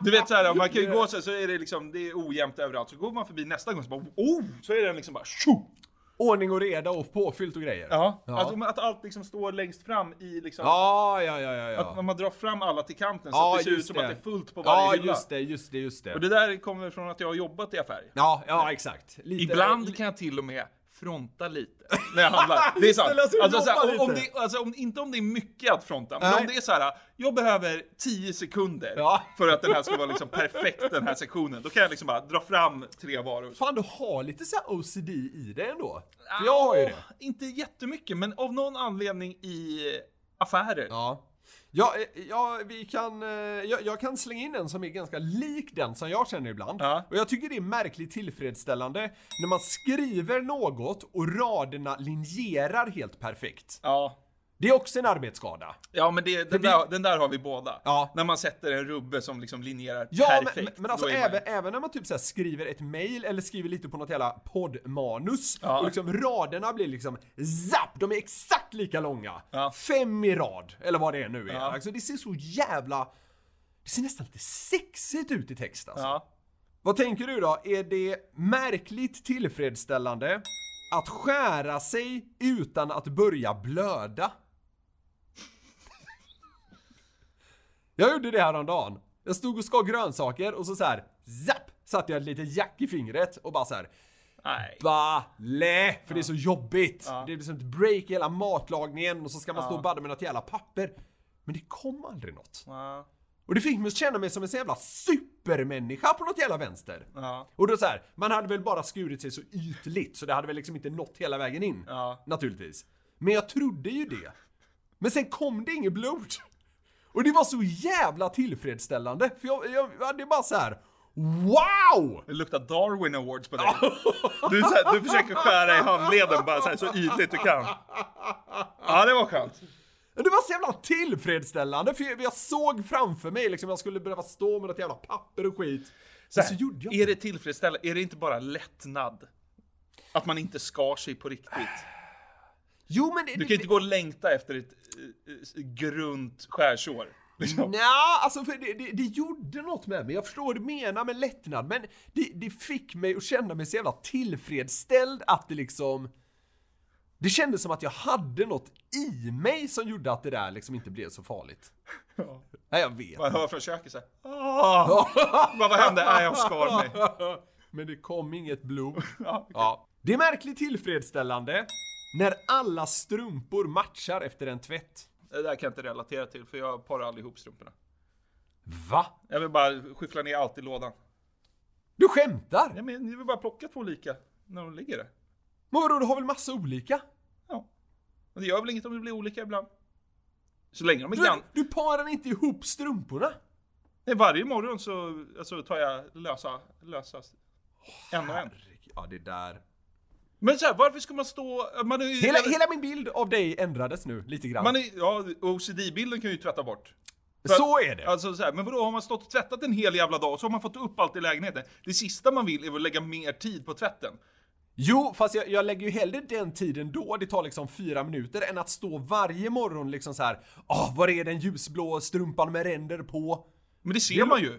B: Du vet såhär, man kan ju gå så, så är det liksom, det är ojämnt överallt. Så går man förbi nästa gång så bara, oh! Så är den liksom bara, tjo!
A: Ordning och reda och påfyllt och grejer.
B: Ja.
A: Ja.
B: Alltså, att allt liksom står längst fram i liksom,
A: Ja, ja, ja, ja. ja.
B: att man drar fram alla till kanten så
A: Ja,
B: att det ser ut
A: just
B: som att det är fullt på varje
A: Ja,
B: hylla.
A: just det, just det, just
B: Och
A: det.
B: det där kommer från att jag har jobbat i affär.
A: Ja, ja, exakt. Lite,
B: Ibland kan jag till och med
A: *laughs*
B: fronta lite när jag handlar. Det är sant.
A: Ställa sig och
B: Alltså, så här,
A: jobba
B: om
A: lite.
B: det, alltså, om, inte om det är mycket att fronta, men
A: Nej.
B: om det är så här, jag behöver 10 sekunder
A: Ja.
B: för att den här ska vara liksom perfekt, den här sektionen. Då kan jag liksom bara dra fram tre varor.
A: Fan, du har lite så här OCD i dig ändå. För jag har ju det.
B: Åh, Inte jättemycket, men av någon anledning i affärer.
A: Ja. Ja, eh, ja, vi kan, eh, jag, jag kan slänga in en som är ganska lik den som jag känner ibland.
B: Ja.
A: Och jag tycker det är märkligt tillfredsställande när man skriver något och raderna linjerar helt perfekt.
B: Ja.
A: Det är också en arbetsskada.
B: Ja, men det, den,
A: vi-
B: där, den där har vi båda.
A: Ja.
B: När man sätter en rubbe som liksom linjerar
A: Ja, men,
B: perfekt.
A: men alltså
B: då är man-
A: även, även när man typ så här skriver ett mail eller skriver lite på något jävla poddmanus
B: Ja.
A: och liksom raderna blir liksom zapp, de är exakt lika långa.
B: Ja.
A: Fem i rad, eller vad det är nu är.
B: Ja.
A: Alltså det ser så jävla... Det ser nästan lite sexigt ut i text alltså.
B: Ja.
A: Vad tänker du då? Är det märkligt tillfredsställande att skära sig utan att börja blöda? Jag gjorde det här om dagen. Jag stod och skar grönsaker och så så här, zapp, satte jag ett litet jack i fingret och bara så här,
B: Nej.
A: Balle! För det är så jobbigt.
B: Ja.
A: Det blir som ett break i hela matlagningen och så ska man stå
B: Ja.
A: och badda med något jävla papper. Men det kom aldrig något.
B: Ja.
A: Och det fick mig att känna mig som en sån jävla supermänniska på något jävla vänster.
B: Ja.
A: Och då så här, man hade väl bara skurit sig så ytligt så det hade väl liksom inte nått hela vägen in.
B: Ja.
A: Naturligtvis. Men jag trodde ju det. Men sen kom det inget blod. Och det var så jävla tillfredsställande. För jag, jag, jag hade bara så här. Wow!
B: Det luktar Darwin Awards på dig. Du, är så här, du försöker skära i handleden bara så, här, så ytligt du kan. Ja, det var skönt.
A: Men Det var så jävla tillfredsställande för jag, jag såg framför mig liksom jag skulle behöva stå med något jävla papper och skit.
B: Så
A: Men så gjorde jag
B: är det tillfredsställande? Är det inte bara lättnad? Att man inte skar sig på riktigt.
A: Jo men det,
B: Du kan inte gå och längta efter ett eh, eh, grunt skärsår. Liksom.
A: Nja, alltså för det, det, det gjorde något med mig. Jag förstår vad du menar med lättnad, men det, det fick mig att känna mig så jävla tillfredsställd att det liksom... Det kändes som att jag hade något i mig som gjorde att det där liksom inte blev så farligt.
B: Ja.
A: Nej, jag vet.
B: Man hör från köket såhär. Vad hände? Nej, jag skar mig.
A: *laughs* Men det kom inget blod.
B: Ja.
A: Ja. Det är märkligt tillfredsställande när alla strumpor matchar efter en tvätt.
B: Det där kan jag inte relatera till för jag parar aldrig ihop strumporna.
A: Va?
B: Jag vill bara skyffla ner allt i lådan.
A: Du skämtar?
B: Nej men ni vill bara plocka två olika när de ligger där.
A: Men vadå, du har väl massa olika?
B: Ja. Men det gör väl inget om det blir olika ibland. Så länge de är
A: Du,
B: grann.
A: du parar inte ihop strumporna?
B: Nej, varje morgon så alltså, tar jag lösa, lösa en och en.
A: Herregud, Ja, det där.
B: Men så här, varför ska man stå... Man är ju,
A: Hela, hela min bild av dig ändrades nu, lite grann.
B: Man är, ja, OCD-bilden kan ju tvätta bort.
A: Så är det.
B: Alltså så här, men vadå, har man stått och tvättat en hel jävla dag och så har man fått upp allt i lägenheten. Det sista man vill är väl lägga mer tid på tvätten.
A: Jo, fast jag, jag lägger ju hellre den tiden då, det tar liksom fyra minuter, än att stå varje morgon liksom så här. Ah, var är den ljusblå strumpan med ränder på? *laughs*
B: Men det ser man ju.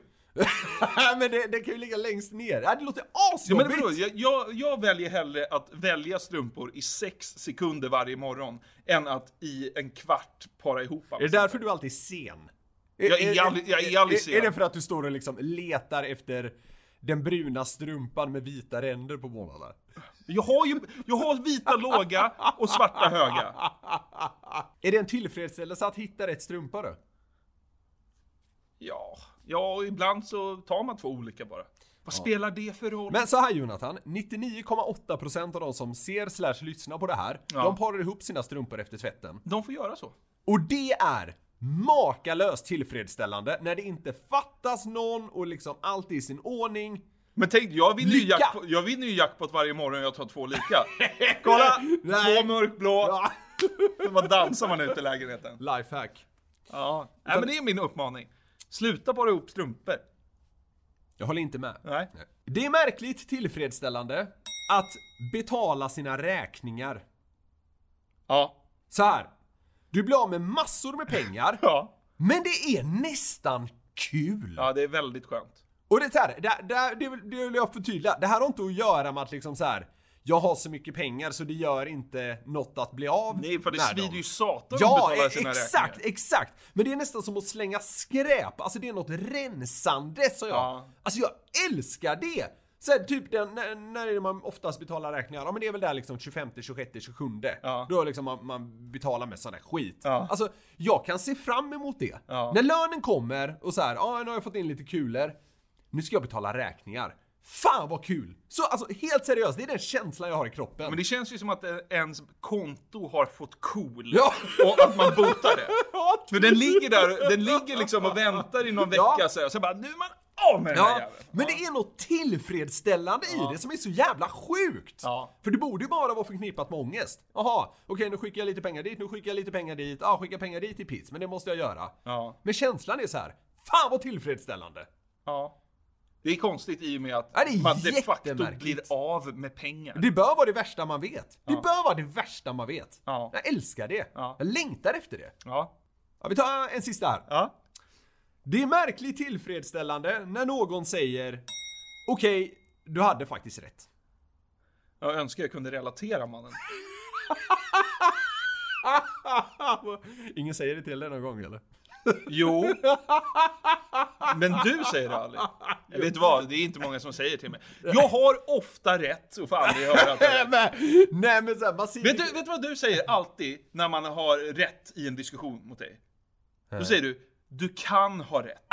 A: men det, det kan ju ligga längst ner. Ja, det låter
B: Ja, men vadå,
A: asjobbigt!
B: jag, jag, jag väljer hellre att välja strumpor i sex sekunder varje morgon än att i en kvart para ihop allt.
A: är det därför du alltid är sen?
B: Jag är aldrig- jag är aldrig
A: Är, är det
B: sen.
A: för att du står och liksom letar efter den bruna strumpan med vita ränder på morgnarna?
B: Jag har ju jag har vita låga och svarta höga.
A: Är det en tillfredsställelse att hitta rätt strumpa då?
B: Ja, ja och ibland så tar man två olika bara. Vad spelar det för roll?
A: Men så här Jonathan, 99,8% av de som ser slash lyssnar på det här,
B: Ja.
A: de parar ihop sina strumpor efter tvätten.
B: De får göra så.
A: Och det är makalöst tillfredsställande när det inte fattas någon och liksom allt är i sin ordning.
B: Men tänk, jag vinner, ju
A: Lycka!
B: jackpot, jag vinner ju jackpot varje morgon jag tar
A: *laughs*
B: två lika. Kolla!
A: Nej.
B: Två mörkblå.
A: Ja. *laughs*
B: Vad dansar man ute i lägenheten?
A: Lifehack.
B: Ja. Nej, men det är min uppmaning. Sluta bara ihop strumpor.
A: Jag håller inte med.
B: Nej.
A: Det är märkligt tillfredsställande att betala sina räkningar.
B: Ja.
A: Så här. du blir av med massor med pengar,
B: *laughs* Ja.
A: men det är nästan kul.
B: Ja, det är väldigt skönt.
A: Och det är så här, det, det, det, vill- det vill jag förtydliga. Det här har inte att göra med att liksom så här. jag har så mycket pengar så det gör inte något att bli av
B: Nej, för det
A: med
B: svider
A: dem.
B: ju satan
A: Ja,
B: att
A: e-
B: betala sina
A: exakt,
B: räkningar.
A: exakt! Men det är nästan som att slänga skräp, alltså det är något rensande sa jag.
B: Ja.
A: Alltså jag älskar det! Så här, typ den, när, när är det man oftast betalar räkningar? Ja men det är väl där liksom 25, 26, 27.
B: Ja.
A: Då liksom man, man betalar med sån där skit.
B: Ja.
A: Alltså jag kan se fram emot det.
B: Ja.
A: När lönen kommer och så här, ja nu har jag fått in lite kulor. Nu ska jag betala räkningar. Fan vad kul! Så alltså helt seriöst, det är den känslan jag har i kroppen.
B: Men det känns ju som att eh, ens konto har fått cool.
A: Ja.
B: Och att man botar det.
A: *laughs* Ja,
B: För den ligger där, den ligger liksom och väntar i någon
A: Ja.
B: vecka så här, och sen bara nu är man av med den här
A: Ja,
B: jäveln.
A: men det är något tillfredsställande i det som är så jävla sjukt!
B: Ja.
A: För det borde ju bara vara förknippat med ångest. Jaha, okej nu skickar jag lite pengar dit, nu skickar jag lite pengar dit, ah, skicka pengar dit i piss, men det måste jag göra.
B: Ja.
A: Men känslan är så här, fan vad tillfredsställande!
B: ja. Det är konstigt i och med att
A: Ja, det är
B: man de facto
A: jättemärkligt.
B: blir av med pengar.
A: Det bör vara det värsta man vet. Det bör vara det värsta man vet.
B: Ja.
A: Jag älskar det.
B: Ja.
A: Jag längtar efter det.
B: Ja.
A: Ja, vi tar en sista här.
B: Ja.
A: Det är märkligt tillfredsställande när någon säger okej, du hade faktiskt rätt.
B: Jag önskar jag kunde relatera mannen.
A: Ingen säger det till dig någon gång eller?
B: Jo. Men du säger det aldrig. Jag vet du vad, det är inte många som säger till mig. Jag har ofta rätt och får aldrig höra att jag har rätt.
A: Nej men, nej, men så här, man ser
B: Vet du, vet du vad du säger alltid när man har rätt i en diskussion mot dig? Då säger du du kan ha rätt.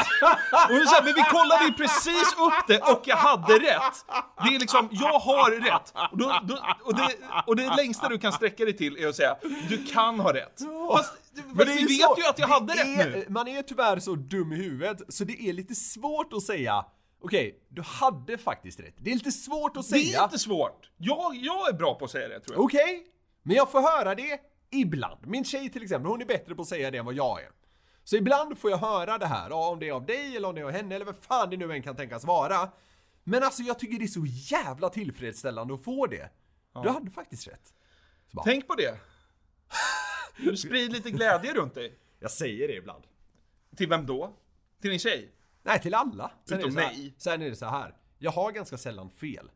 B: Och du säger, men vi kollade ju precis upp det och jag hade rätt. Det är liksom, jag har rätt. Och, då, då, och, det, och det längsta du kan sträcka dig till är att säga, du kan ha rätt. Fast, fast
A: det är
B: vi
A: ju
B: vet
A: så-
B: ju att jag hade
A: det
B: rätt
A: är,
B: nu.
A: Man är tyvärr så dum i huvudet så det är lite svårt att säga Okej, du hade faktiskt rätt. Det är lite svårt att
B: Det är
A: säga.
B: inte svårt. Jag, jag är bra på att säga det tror jag.
A: Okej, men jag får höra det ibland. Min tjej till exempel, hon är bättre på att säga det än vad jag är. Så ibland får jag höra det här, ja, om det är av dig eller om det är av henne eller vad fan det nu än kan tänkas vara. Men alltså jag tycker det är så jävla tillfredsställande att få det. Du hade faktiskt rätt.
B: Tänk på det. Du sprid lite glädje runt dig.
A: Jag säger det ibland.
B: Till vem då? Till din tjej?
A: Nej, till alla. Sen är
B: Utom
A: det så här,
B: mig.
A: Sen är det så här. jag har ganska sällan fel.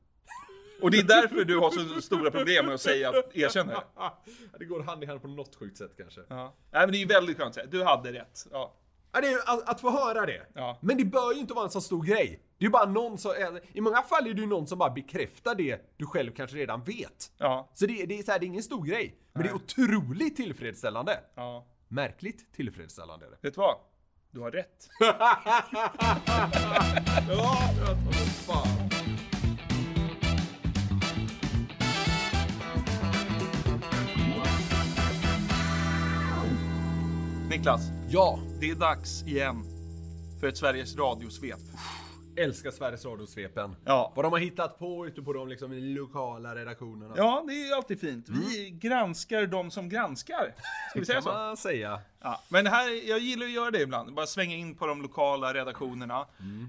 B: Och det är därför du har så stora problem med att säga att erkänna det.
A: *laughs* det går hand i hand på något sjukt sätt kanske. Ja.
B: Ja. Nej men det är ju väldigt skönt att säga, du hade rätt. Ja.
A: det är, ju att, att få höra det.
B: Ja.
A: Men det bör ju inte vara en så stor grej. Det är ju bara någon som, i många fall är det ju någon som bara bekräftar det du själv kanske redan vet.
B: Ja.
A: Så det, det, är så här, det är ingen stor grej. Men det är otroligt tillfredsställande.
B: ja.
A: Märkligt tillfredsställande är det.
B: Vet du vad? Du har *laughs* rätt.
A: Ja, jag tar mig fan.
B: Niklas,
A: Ja,
B: det är dags igen för ett Sveriges radiosvep.
A: älskar Sveriges Radio-svepen.
B: Ja.
A: Vad de har hittat på ute på de liksom, lokala redaktionerna.
B: Ja, det är ju alltid fint. Vi granskar de som granskar. Mm. Ska vi säga
A: kan
B: så?
A: man säga.
B: Ja. Men det här, jag gillar att göra det ibland. Bara svänga in på de lokala redaktionerna.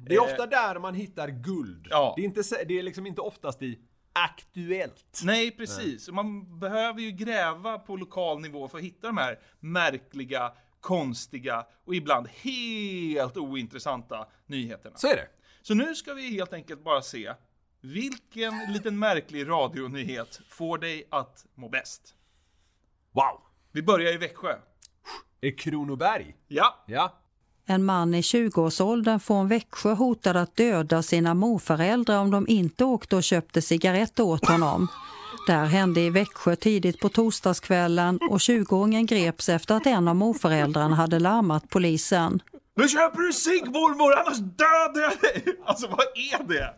A: Det är ofta där man hittar guld.
B: Ja.
A: Det, är inte, sä- det är liksom inte oftast i Aktuellt.
B: Nej, precis. Och Man behöver ju gräva på lokal nivå för att hitta de här märkliga, konstiga och ibland helt ointressanta nyheterna.
A: Så är det.
B: Så nu ska vi helt enkelt bara se vilken liten märklig radionyhet får dig att må bäst?
A: Wow.
B: Vi börjar i Växjö.
A: Är Kronoberg?
B: Ja,
A: Ja.
C: En man i 20-årsåldern från Växjö hotade att döda sina morföräldrar om de inte åkte och köpte cigaretter åt honom. Det här hände i Växjö tidigt på torsdagskvällen och 20-åringen greps efter att en av morföräldrarna hade larmat polisen.
B: Nu köper du cigg mormor, annars dödar jag dig! Alltså vad är det?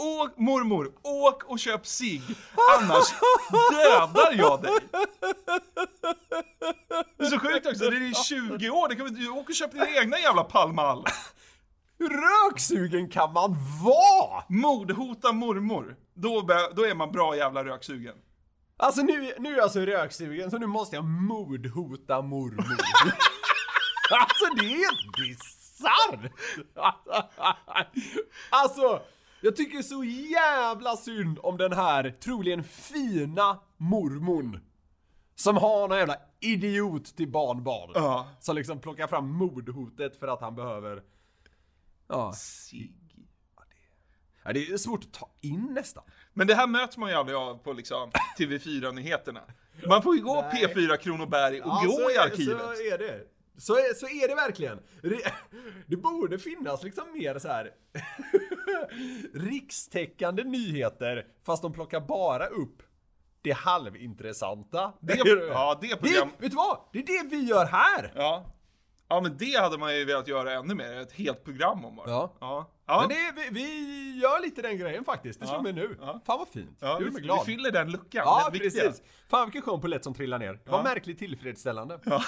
B: Åk mormor, åk och köp cigg, annars dödar jag dig! Det är så sjukt också, det är i 20 år, det kan väl du åka och köpa dina egna jävla palmal.
A: Hur röksugen kan man vara?
B: Mordhota mormor, då, bör- då är man bra jävla röksugen.
A: Alltså nu, nu är jag så röksugen så nu måste jag mordhota mormor. alltså det är helt bisarrt! alltså, jag tycker så jävla synd om den här troligen fina mormon. Som har någon jävla idiot till barnbarn.
B: Ja.
A: Som liksom plockar fram mordhotet för att han behöver... Ja.
B: Cigg.
A: ja, det är svårt att ta in nästan.
B: Men det här möts man ju aldrig av på liksom TV4-nyheterna. Man får ju gå P4 Kronoberg och
A: Ja,
B: gå
A: så
B: i
A: är-
B: arkivet.
A: Så är det. Så är, så är det verkligen. Re- *laughs* Det borde finnas liksom mer så här *laughs* rikstäckande nyheter fast de plockar bara upp det halvintressanta.
B: Det, *laughs* ja, det
A: det,
B: program...
A: vet du vad? Det är det vi gör här!
B: Ja. ja, men det hade man ju velat göra ännu mer. Ett helt program om bara.
A: Ja.
B: ja. ja.
A: Men det, är- vi, vi gör lite den grejen faktiskt, det slår mig nu.
B: Ja.
A: Fan vad fint,
B: ja
A: det
B: vi,
A: gjorde mig glad.
B: vi fyller den luckan.
A: ja,
B: den viktiga.
A: precis. Fan vilken skön polett som trillar ner. Det var märkligt tillfredsställande.
B: Ja.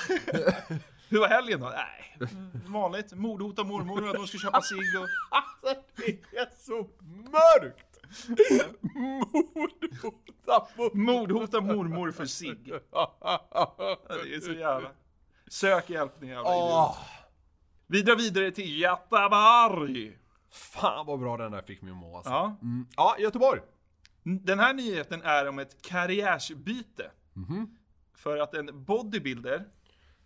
B: Hur var helgen då? Nej, Mm. vanligt. Mordhota mormor att hon ska köpa cigg och...
A: Alltså det är så mörkt! Mordhota på...
B: Mordhota mormor för cigg. Ja, Det är så jävla... Sök hjälp ni jävla idioter.
A: Åh,
B: Vi drar vidare till Göteborg.
A: fan vad bra den där fick mig att må alltså.
B: Ja.
A: Mm. ja, Göteborg.
B: Den här nyheten är om ett karriärsbyte.
A: Mhm.
B: För att en bodybuilder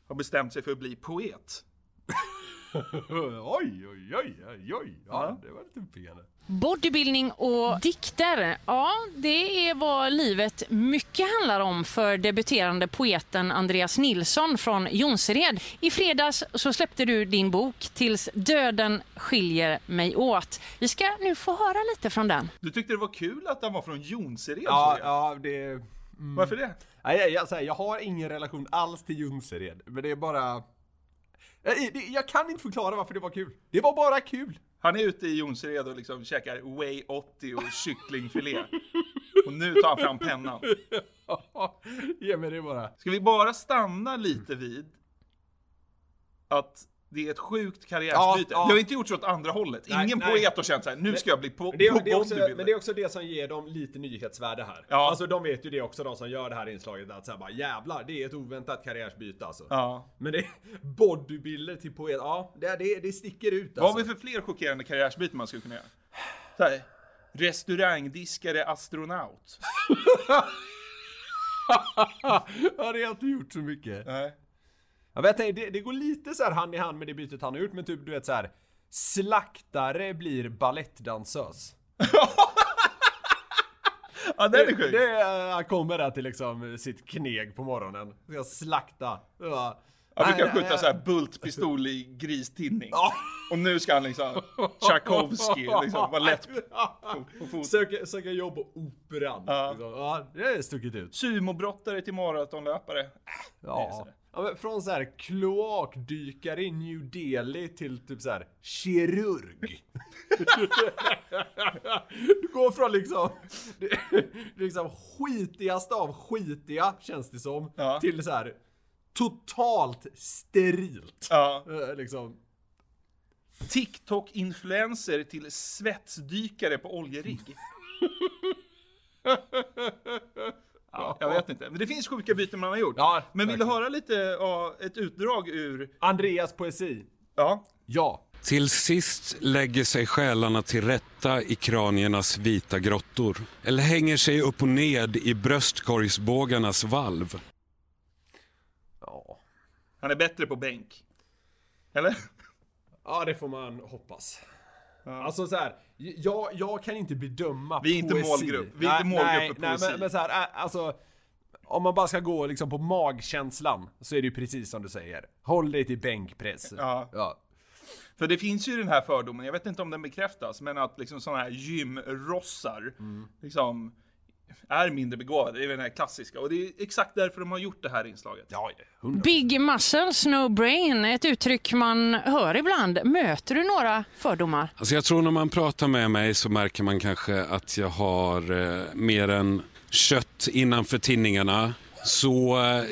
B: har bestämt sig för att bli poet.
A: *laughs* Oj, oj, oj, oj, oj. Ja, det var lite uppiggande.
D: Bodybuilding och dikter, ja det är vad livet mycket handlar om för debuterande poeten Andreas Nilsson från Jonsered. I fredags så släppte du din bok Tills döden skiljer mig åt. Vi ska nu få höra lite från den.
B: Du tyckte det var kul att han var från Jonsered
A: Ja,
B: såg jag.
A: ja, det...
B: Varför det?
A: Nej, jag, jag, så här, jag har ingen relation alls till Jonsered, men det är bara... Jag, det- jag kan inte förklara varför det var kul. Det var bara kul. *laughs*
B: Han är ute i Jonsered och liksom käkar Way 80 och kycklingfilé. Och nu tar han fram pennan.
A: Ge mig det bara.
B: Ska vi bara stanna lite vid att det är ett sjukt karriärsbyte.
A: Ja, ja.
B: Det har inte gjort så åt andra hållet.
A: Nej,
B: Ingen
A: nej.
B: poet har känt så här, nu ska jag bli po-
A: Men det, är, det är också,
B: bodybuilder.
A: men det är också det som ger dem lite nyhetsvärde här.
B: Ja.
A: Alltså de vet ju det också de som gör det här inslaget att säga bara jävlar det är ett oväntat karriärsbyte alltså.
B: Ja.
A: Men det bodybuilder till poet, ja det, det, det sticker ut
B: Vad
A: alltså.
B: har vi för fler chockerande karriärsbyten man skulle kunna göra? Så här, restaurangdiskare astronaut.
A: ja det har inte gjort så mycket.
B: Nej.
A: Ja, men jag tänker, det, det går lite så här hand i hand med det bytet han har gjort men typ du vet så här slaktare blir balettdansös.
B: Ja, den är sjuk.
A: eh, Det, han kommer där till liksom sitt kneg på morgonen. Ska slakta. Ja.
B: Ja, vi
A: Nej,
B: kan
A: nej,
B: skjuta
A: nej.
B: så här bultpistol i gristinning.
A: Ja.
B: Och nu ska
A: *laughs*
B: han liksom, Tchaikovsky, liksom, vara lätt på, på foten.
A: Söka, söka jobb på operan.
B: Ja.
A: Liksom. Ja, det är stuckit ut.
B: Sumobrottare till maratonlöpare.
A: Ja. ja men från så här kloakdykare i New Delhi till typ så här kirurg. *laughs* du går från liksom, *laughs* liksom skitigaste av skitiga känns det som
B: Ja.
A: till så här totalt sterilt.
B: Ja.
A: Eh, Liksom.
B: TikTok-influencer till svetsdykare på oljerigg. Ja, jag vet inte. Men det finns sjuka byten man har gjort.
A: Ja,
B: Men vill du
A: verkligen.
B: höra lite ja, ett utdrag ur...
A: Andreas poesi.
B: Ja.
A: Ja.
E: Till sist lägger sig själarna till rätta i kraniernas vita grottor. Eller hänger sig upp och ned i bröstkorgsbågarnas valv.
A: ja.
B: Han är bättre på bänk. Eller?
A: Ja, det får man hoppas. Alltså så här, jag, jag kan inte bedöma
B: Vi är inte
A: poesi.
B: målgrupp. Vi är inte målgrupp
A: nej,
B: för
A: nej,
B: poesi.
A: men, men så här, ä- alltså. Om man bara ska gå liksom på magkänslan så är det ju precis som du säger. Håll dig till bänkpress.
B: Ja.
A: ja.
B: För det finns ju den här fördomen, jag vet inte om den bekräftas, men att liksom sådana här gymrossar
A: Mm.
B: liksom är mindre begåvade. Det är den här klassiska. Och det är exakt därför de har gjort det här inslaget.
A: Ja, hundra.
D: Big muscles, no brain, ett uttryck man hör ibland. Möter du några fördomar?
E: Alltså jag tror när man pratar med mig så märker man kanske att jag har eh, mer än kött innanför tinningarna. Så eh,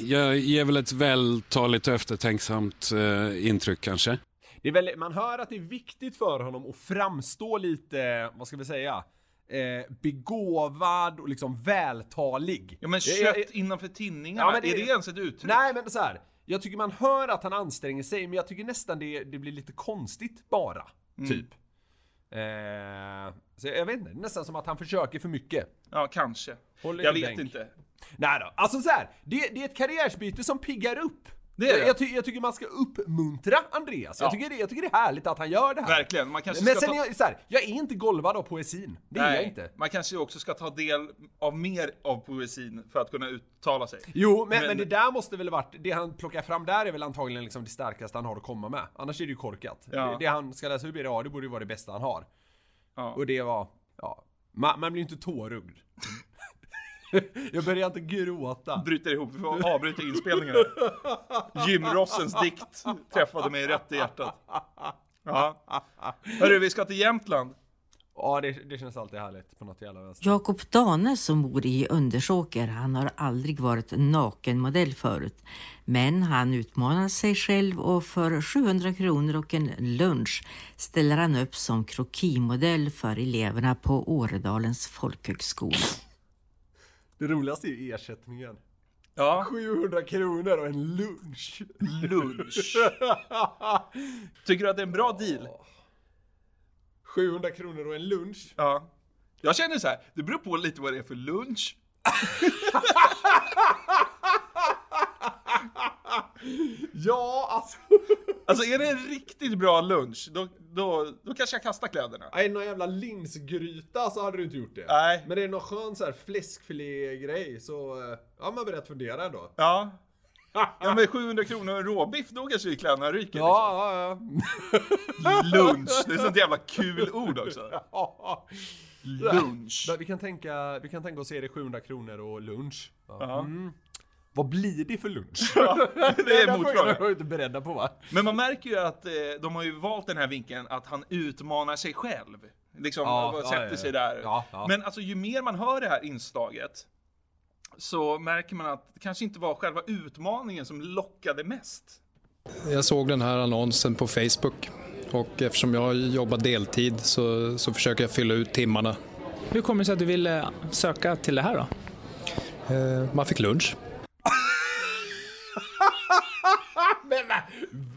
E: jag ger väl ett vältaligt och eftertänksamt eh, intryck kanske.
A: Det är väl, man hör att det är viktigt för honom att framstå lite, vad ska vi säga? Eh, begåvad och liksom vältalig.
B: Ja men
A: Jag-
B: kött
A: jag-
B: innanför tinningarna,
A: Ja, men det-
B: är det ens ett uttryck?
A: Nej men så här. jag tycker man hör att han anstränger sig men jag tycker nästan det, det blir lite konstigt bara.
B: Mm.
A: Typ. Eh, så jag vet inte, det är nästan som att han försöker för mycket.
B: Ja, kanske.
A: Håll
B: jag
A: lite
B: vet
A: bänk.
B: inte.
A: Nej då, alltså så här. Det, det är ett karriärsbyte som piggar upp.
B: Det är det.
A: Jag, jag, ty, jag tycker man ska uppmuntra Andreas.
B: Ja.
A: Jag, tycker det, jag tycker det är härligt att han gör det här.
B: Verkligen, man kanske
A: Men
B: ska
A: sen
B: ta-
A: är jag så här, jag är inte golvad av poesin. Det är jag inte.
B: man kanske också ska ta del av mer av poesin för att kunna uttala sig.
A: Jo, men, men,
B: Men-
A: det där måste väl varit, det han plockar fram där är väl antagligen liksom det starkaste han har att komma med. Annars är det ju korkat.
B: Ja.
A: Det, det han ska läsa upp i radio borde ju vara det bästa han har.
B: Ja.
A: Och det var, ja. Man, man blir ju inte
B: *laughs*
A: tårögd. jag börjar inte gråta.
B: Bryter ihop, vi får avbryta inspelningen. Gymrossens dikt träffade mig rätt i hjärtat. Ja. Hörru, vi ska till Jämtland.
A: Ja, det, det känns alltid härligt på något jävla vänster.
F: Jakob Dane som bor i Undersåker, han har aldrig varit en nakenmodell förut. Men han utmanar sig själv och för 700 kronor och en lunch ställer han upp som krokimodell för eleverna på Åredalens folkhögskola.
A: Det roligaste är ju ersättningen.
B: Ja,
A: 700 kronor och en lunch.
B: lunch. *laughs* Tycker du att det är en bra deal?
A: 700 kronor och en lunch.
B: Ja. Jag känner så här, det beror på lite vad det är för lunch.
A: Ja, alltså.
B: Alltså är det en riktigt bra lunch, då, då, då kanske jag kastar kläderna.
A: Nej, någon jävla linsgryta så hade du inte gjort det.
B: Nej.
A: Men det är någon skön så här fläskfilé-grej så, eh, ja man börjar fundera ändå.
B: Ja. Ja men 700 kronor och en råbiff, då kanske ju kläderna ryker.
A: Ja,
B: Liksom. Lunch, det är sånt jävla kul ord
A: *laughs*
B: också.
A: ja,
B: Lunch.
A: ja. Vi kan tänka, vi kan tänka oss se det 700 kronor och lunch. Ja.
B: Ja. *laughs*
A: Vad blir det för lunch?
B: Det är
A: frågan
B: motfrågan.
A: var *laughs* jag inte beredda på va?
B: Men man märker ju att eh, de har ju valt den här vinkeln att han utmanar sig själv. Liksom
A: Ja,
B: och
A: ja,
B: sätter
A: ja, ja.
B: sig där.
A: Ja, ja.
B: Men alltså ju mer man hör det här inslaget så märker man att det kanske inte var själva utmaningen som lockade mest.
G: Jag såg den här annonsen på Facebook och eftersom jag jobbar deltid så, så försöker jag fylla ut timmarna.
H: Hur kommer det sig att du ville söka till det här då?
G: Eh, Man fick lunch.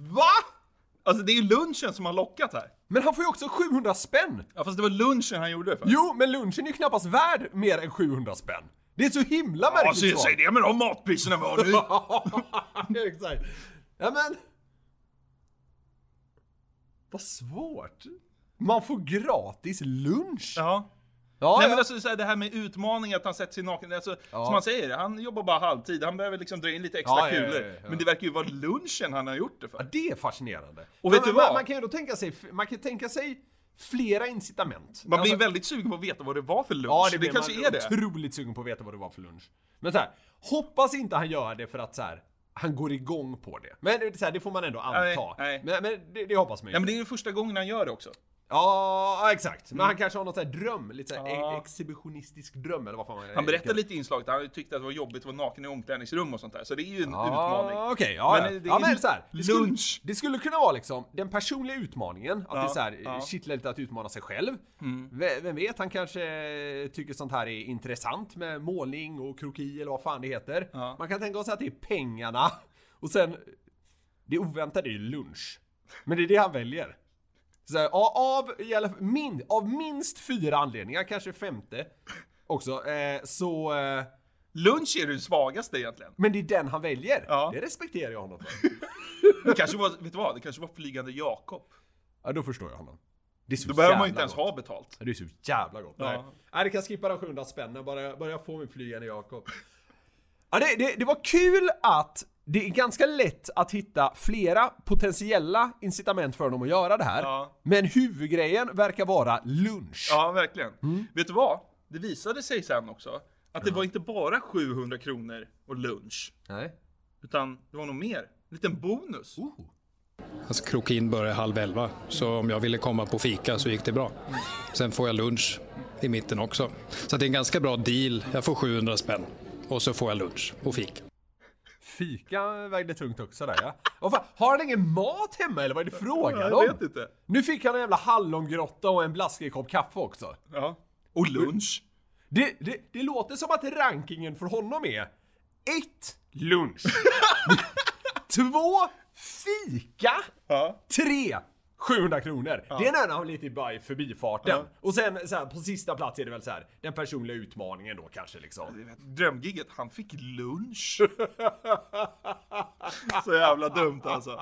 A: Va?
B: Alltså det är ju lunchen som har lockat här.
A: Men han får ju också 700 spänn!
B: Ja fast det var lunchen han gjorde det för.
A: Jo, men lunchen är ju knappast värd mer än 700 spänn. Det är så himla
B: Ja,
A: märkligt
B: så jag
A: svar.
B: säger det med de matpriserna vi har nu.
A: *laughs* Ja, Exakt. Ja men. Vad svårt. Man får gratis lunch.
B: Ja.
A: Ja,
B: Nej
A: ja.
B: men alltså så här, det här med utmaning, att han sätter sig naken. Alltså, Som han säger, han jobbar bara halvtid, han behöver liksom dra in lite extra
A: Ja, ja, ja,
B: kulor.
A: ja, ja.
B: Men det verkar ju vara lunchen han har gjort det
A: Ja,
B: för.
A: det är fascinerande. Men
B: Och vet
A: man,
B: du vad?
A: Man, man kan ju då tänka sig, man kan tänka sig flera incitament.
B: Man blir
A: Alltså-
B: väldigt sugen på att veta vad det var för lunch.
A: Ja, det,
B: det,
A: blir
B: kanske
A: man
B: är det.
A: otroligt sugen på att veta vad det var för lunch. Men så här, hoppas inte han gör det för att så här, han går igång på det. Men det, är så här, det får man ändå anta.
B: nej.
A: Men, men det, det hoppas man ju.
B: Ja, men det är ju första gången han gör det också.
A: Ja, ja, exakt. Men han
B: Mm.
A: kanske har någon sån här dröm, lite så här e- exhibitionistisk dröm eller vad fan man
B: Han berättar lite i inslaget, han tyckte att det var jobbigt att vara naken i omklädningsrum och sånt där. Så det är ju en
A: Ja,
B: utmaning.
A: Okej, ja,
B: Men
A: ja.
B: det är
A: ja men så här, det skulle,
B: lunch.
A: Det skulle kunna vara liksom den personliga utmaningen, att det är så här,
B: ja.
A: kittlar lite att utmana sig själv. V- Vem vet, han kanske tycker sånt här är intressant med målning och kroki eller vad fan det heter.
B: Ja.
A: Man kan tänka sig att det är pengarna och sen det oväntade är ju lunch. Men det är det han väljer. Så här, ja, av, i alla, fall- min, av minst fyra anledningar, kanske femte också, eh, så eh,
B: Lunch är det svagaste egentligen.
A: men det är den han väljer.
B: Ja.
A: Det respekterar jag honom för.
B: Det kanske var, vet du vad? Det kanske var Flygande Jakob.
A: Ja, då förstår jag honom. Det är så
B: Då behöver man
A: jävla
B: ju inte ens
A: gott.
B: ha betalt.
A: Ja, Det är så jävla gott. Nej.
B: Ja.
A: Nej, det kan skippa de 700 spännen. Bara, bara jag får min flygande Jakob. Ja, det, det, det var kul att det är ganska lätt att hitta flera potentiella incitament för dem att göra det här.
B: Ja.
A: Men huvudgrejen verkar vara lunch.
B: Ja, verkligen. Vet du vad? Det visade sig sen också att det var inte bara 700 kronor och lunch,
A: Nej.
B: utan det var nog mer. En liten bonus.
G: Alltså krokin börjar halv elva, så om jag ville komma på fika så gick det bra. Sen får jag lunch i mitten också. Så det är en ganska bra deal. Jag får 700 spänn och så får jag lunch och fika.
A: Fika vägde tungt också där ja. Vad fan, har han ingen mat hemma eller vad är det frågan
B: Jag vet
A: om?
B: inte.
A: Nu fick han en jävla hallongrotta och en blaskig kopp kaffe också.
B: Ja. Och lunch.
A: Det, det, det låter som att rankingen för honom är 1.
B: *laughs*
A: Lunch 2. Fika
B: Ja.
A: 3. 700 kronor. Det är när han lite bara i förbifarten. Och sen så här, på sista plats är det väl så här den personliga utmaningen då kanske liksom.
B: Drömgigget, han fick lunch. *laughs* Så jävla dumt alltså.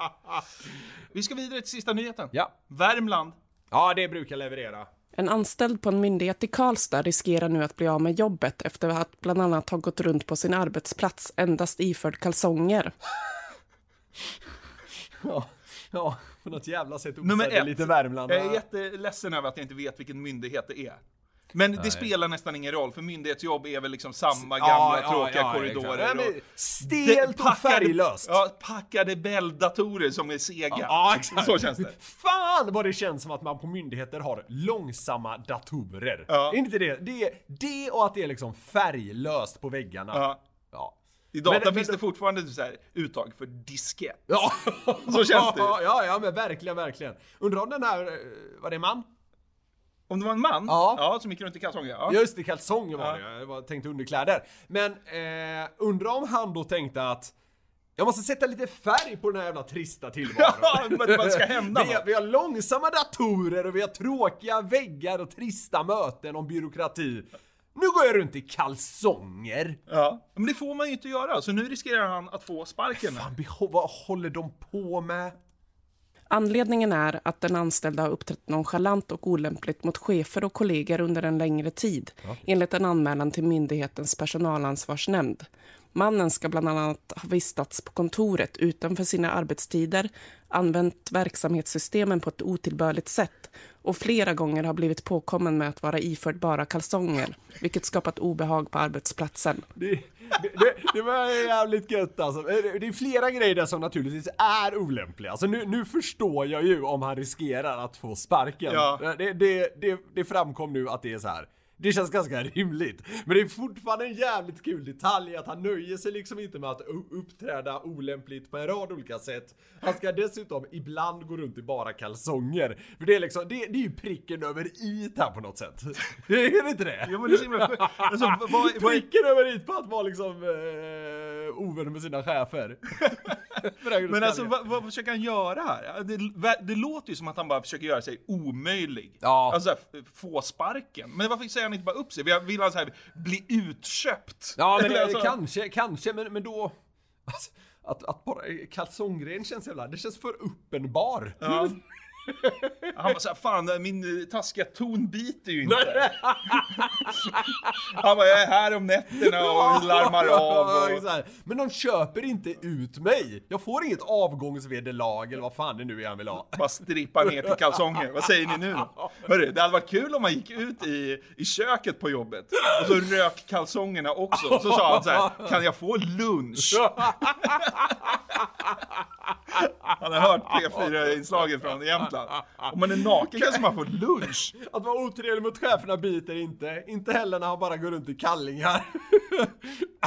B: Vi ska vidare till sista nyheten.
A: Ja.
B: Värmland.
A: Ja, det brukar leverera.
I: En anställd på en myndighet i Karlstad riskerar nu att bli av med jobbet efter att bland annat ha gått runt på sin arbetsplats endast iförd kalsonger.
A: Ja, ja *laughs* på något jävla sätt
B: Nummer
A: osade
B: ett. Eh,
A: lite Värmland.
B: Jag är jätteledsen över att jag inte vet vilken myndighet det är. Men det spelar nästan ingen roll, för myndighetsjobb är väl liksom samma gamla tråkiga korridorer.
A: exakt. Nej, men
B: och-
A: Stelt och
B: packade-
A: färglöst.
B: Ja, packade Bell-datorer som är sega.
A: Ja, exakt.
B: Så känns det.
A: Fan vad det känns som att man på myndigheter har långsamma datorer.
B: Ja.
A: Är Inte det. det? är- Det och att det är liksom färglöst på väggarna.
B: Ja.
A: Ja.
B: I data
A: Men- men-
B: finns det fortfarande så här, uttag för diskett.
A: Ja.
B: *laughs* Så känns det ju.
A: Ja, ja, ja, men verkligen, verkligen. Undrar om den här, eh, var det en man?
B: Om det var en man
A: Ja.
B: som gick runt i kalsonger, ja.
A: Just det, kalsonger var
B: Ja.
A: det. Jag var- tänkte underkläder. Men eh, undrar om han då tänkte att jag måste sätta lite färg på den här jävla trista tillvaron.
B: Ja, *laughs* men vad ska hända
A: vi,
B: då?
A: har, vi har långsamma datorer och vi har tråkiga väggar och trista möten om byråkrati. Nu går jag runt i kalsonger.
B: ja. Men det får man ju inte göra, så nu riskerar han att få sparken.
A: Fan, beho- vad håller de på med?
I: Anledningen är att den anställda har uppträtt nonchalant och olämpligt mot chefer och kollegor under en längre tid, enligt en anmälan till myndighetens personalansvarsnämnd. Mannen ska bland annat ha vistats på kontoret utanför sina arbetstider, använt verksamhetssystemen på ett otillbörligt sätt och flera gånger har blivit påkommen med att vara iförd bara kalsonger, vilket skapat obehag på arbetsplatsen.
A: Det, det, det var jävligt gött alltså. Det är flera grejer där som naturligtvis är olämpliga. Alltså nu, nu förstår jag ju om han riskerar att få sparken. Eh,
B: Ja.
A: Det, det, det, det framkom nu att det är så här. Det känns ganska rimligt. Men det är fortfarande en jävligt kul detalj att han nöjer sig liksom inte med att u- uppträda olämpligt på en rad olika sätt. Han ska dessutom ibland gå runt i bara kalsonger. För det är liksom, det, det är ju pricken över i här på något sätt. *laughs* Är det inte det?
B: Ja, men det är så himla sjukt. Alltså,
A: *laughs*
B: vad- vad, vad,
A: Pricken över hit på att vara liksom eh, ovän med sina
B: *laughs*
A: chefer.
B: men alltså, vad, vad försöker han göra här? Det, det låter ju som att han bara försöker göra sig omöjlig.
A: Ja.
B: Alltså, f- få sparken. Men varför säger han inte bara upp sig? Vill- Vill han så här, bli utköpt?
A: Ja men
B: Eller
A: det,
B: alltså-
A: kanske, kanske, men, men då... eh, Alltså, att, att bara kalsonggren känns jävla... Det känns för uppenbar.
B: Ja. Han var såhär, fan min eh, taskiga ton biter
A: *laughs*
B: ju inte. Han var, jag är här om nätterna och larmar av.
A: Ja, *laughs*
B: Och...
A: så här. Men de köper inte ut mig. Jag får inget avgångsvederlag eller vad fan det nu är han vill ha.
B: Bara strippa ner till kalsonger. Vad säger ni nu då? Hörru, det hade varit kul om man gick ut i, i köket på jobbet och så rök kalsongerna också. Så sa han så här, kan jag få lunch? Han har hört P4-inslaget från Jämtland. Om man är naken kanske man får lunch.
A: Att vara otrevlig mot cheferna biter inte. Inte heller när han bara går runt i kallingar.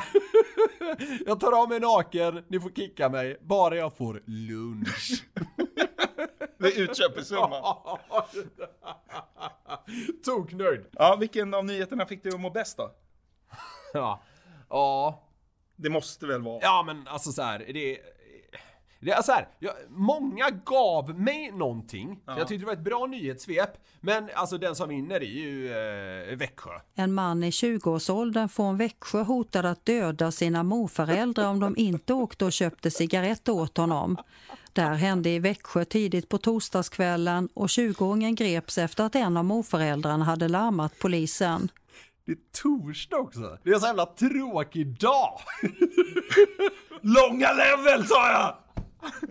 A: *laughs* jag tar av mig naken, ni får kicka mig, bara jag får lunch. *laughs*
B: Det är utköpessumman.
A: Toknörd.
B: Ja, vilken av nyheterna fick du att må bäst då?
A: Ja. ja.
B: Det måste väl vara?
A: Ja men alltså så här, det... Det är så här, jag, många gav mig någonting. Så Jag tyckte det var ett bra nyhetssvep. Men alltså den som vinner är ju eh, Växjö.
C: En man i 20-årsåldern från Växjö hotade att döda sina morföräldrar om de inte åkte och köpte cigaretter åt honom. Det här hände i Växjö tidigt på torsdagskvällen och 20-åringen greps efter att en av morföräldrarna hade larmat polisen.
A: Det är torsdag också. Det är en så jävla tråkig dag. *laughs*
B: Långa level sa jag!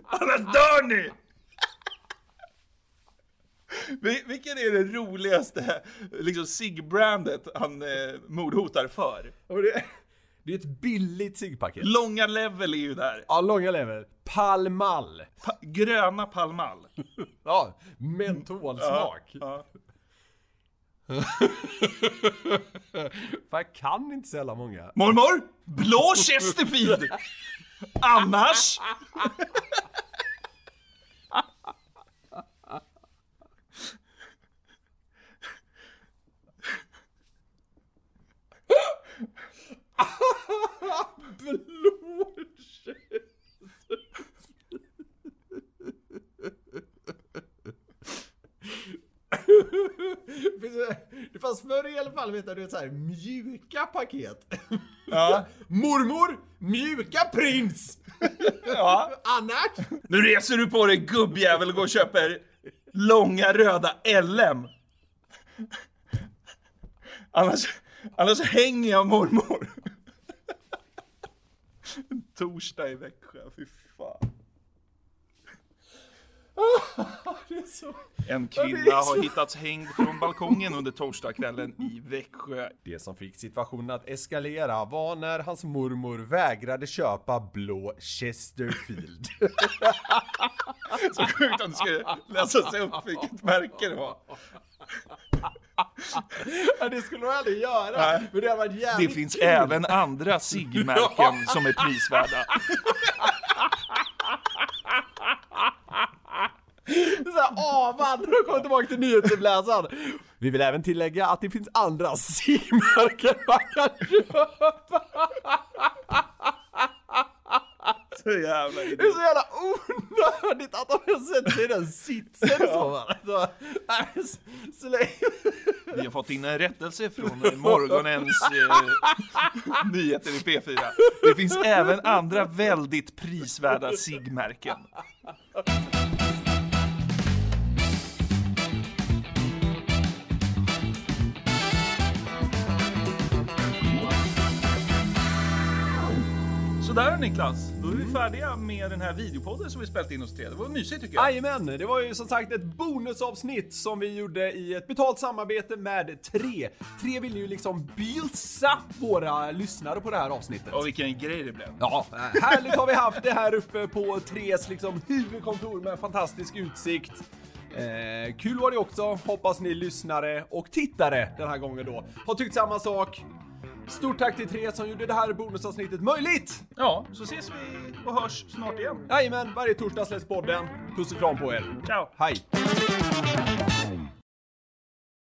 B: Annars dör ni! Vil- Vilken är det roligaste liksom SIG-brandet han eh, mordhotar för?
A: Och det, det är ett billigt ciggpaket.
B: Långa level är ju där.
A: Ja, långa lever. Palmal.
B: Pa gröna Pall Mall.
A: Ja, mentolsmak.
B: Ja.
A: *laughs* För jag kan inte så jävla många.
B: Mormor! Blå Chesterfield! Annars?
A: Det *laughs* finns- Det fanns förr i alla fall, vet du, du vet, så här, mjuka paket.
B: Ja.
A: Mormor, mjuka prins!
B: ja.
A: Annars?
B: Nu reser du på dig gubbjävel och går och köper långa röda LM. Annars, annars hänger jag mormor. Torsdag i Växjö, fy fan. En kvinna har hittats hängd från balkongen under torsdagskvällen i Växjö.
A: Det som fick situationen att eskalera var när hans mormor vägrade köpa blå Chesterfield.
B: Så sjukt om du skulle läsa sig upp vilket märke det var.
A: Ja, det skulle hon aldrig göra. Men det hade varit
B: Det
A: jävligt
B: finns
A: *laughs*
B: även andra sigmärken som är prisvärda.
A: Så här, åh man, då kommer tillbaka till nyhetsuppläsaren. Vi vill även tillägga att det finns andra simmärken man kan köpa.
B: Så jävla
A: Det är
B: idiot.
A: så jävla onödigt att de ens sätter sig i den sitsen så va. Alltså, nej, men s- släng.
B: Vi har fått in en rättelse från morgonens eh, nyheter i P4. Det finns även andra väldigt prisvärda sigmärken. Sådär Niklas, då är vi färdiga med den här videopodden som vi spelat in oss till. Det var mysigt tycker jag.
A: Jajamän, det var ju som sagt ett bonusavsnitt som vi gjorde i ett betalt samarbete med Tre. Tre ville ju liksom bjussa våra lyssnare på det här avsnittet.
B: Och vilken grej det blev.
A: Ja, äh, härligt har vi haft det här uppe på Tres liksom huvudkontor med fantastisk utsikt. Eh, kul var det också. Hoppas ni lyssnare och tittare den här gången då har tyckt samma sak. Stort tack till Tres som gjorde det här bonusavsnittet möjligt!
B: Ja, så ses vi och hörs snart igen.
A: Jajamän, varje torsdag släpps podden. Puss och kram på er!
B: Ciao!
A: Hej!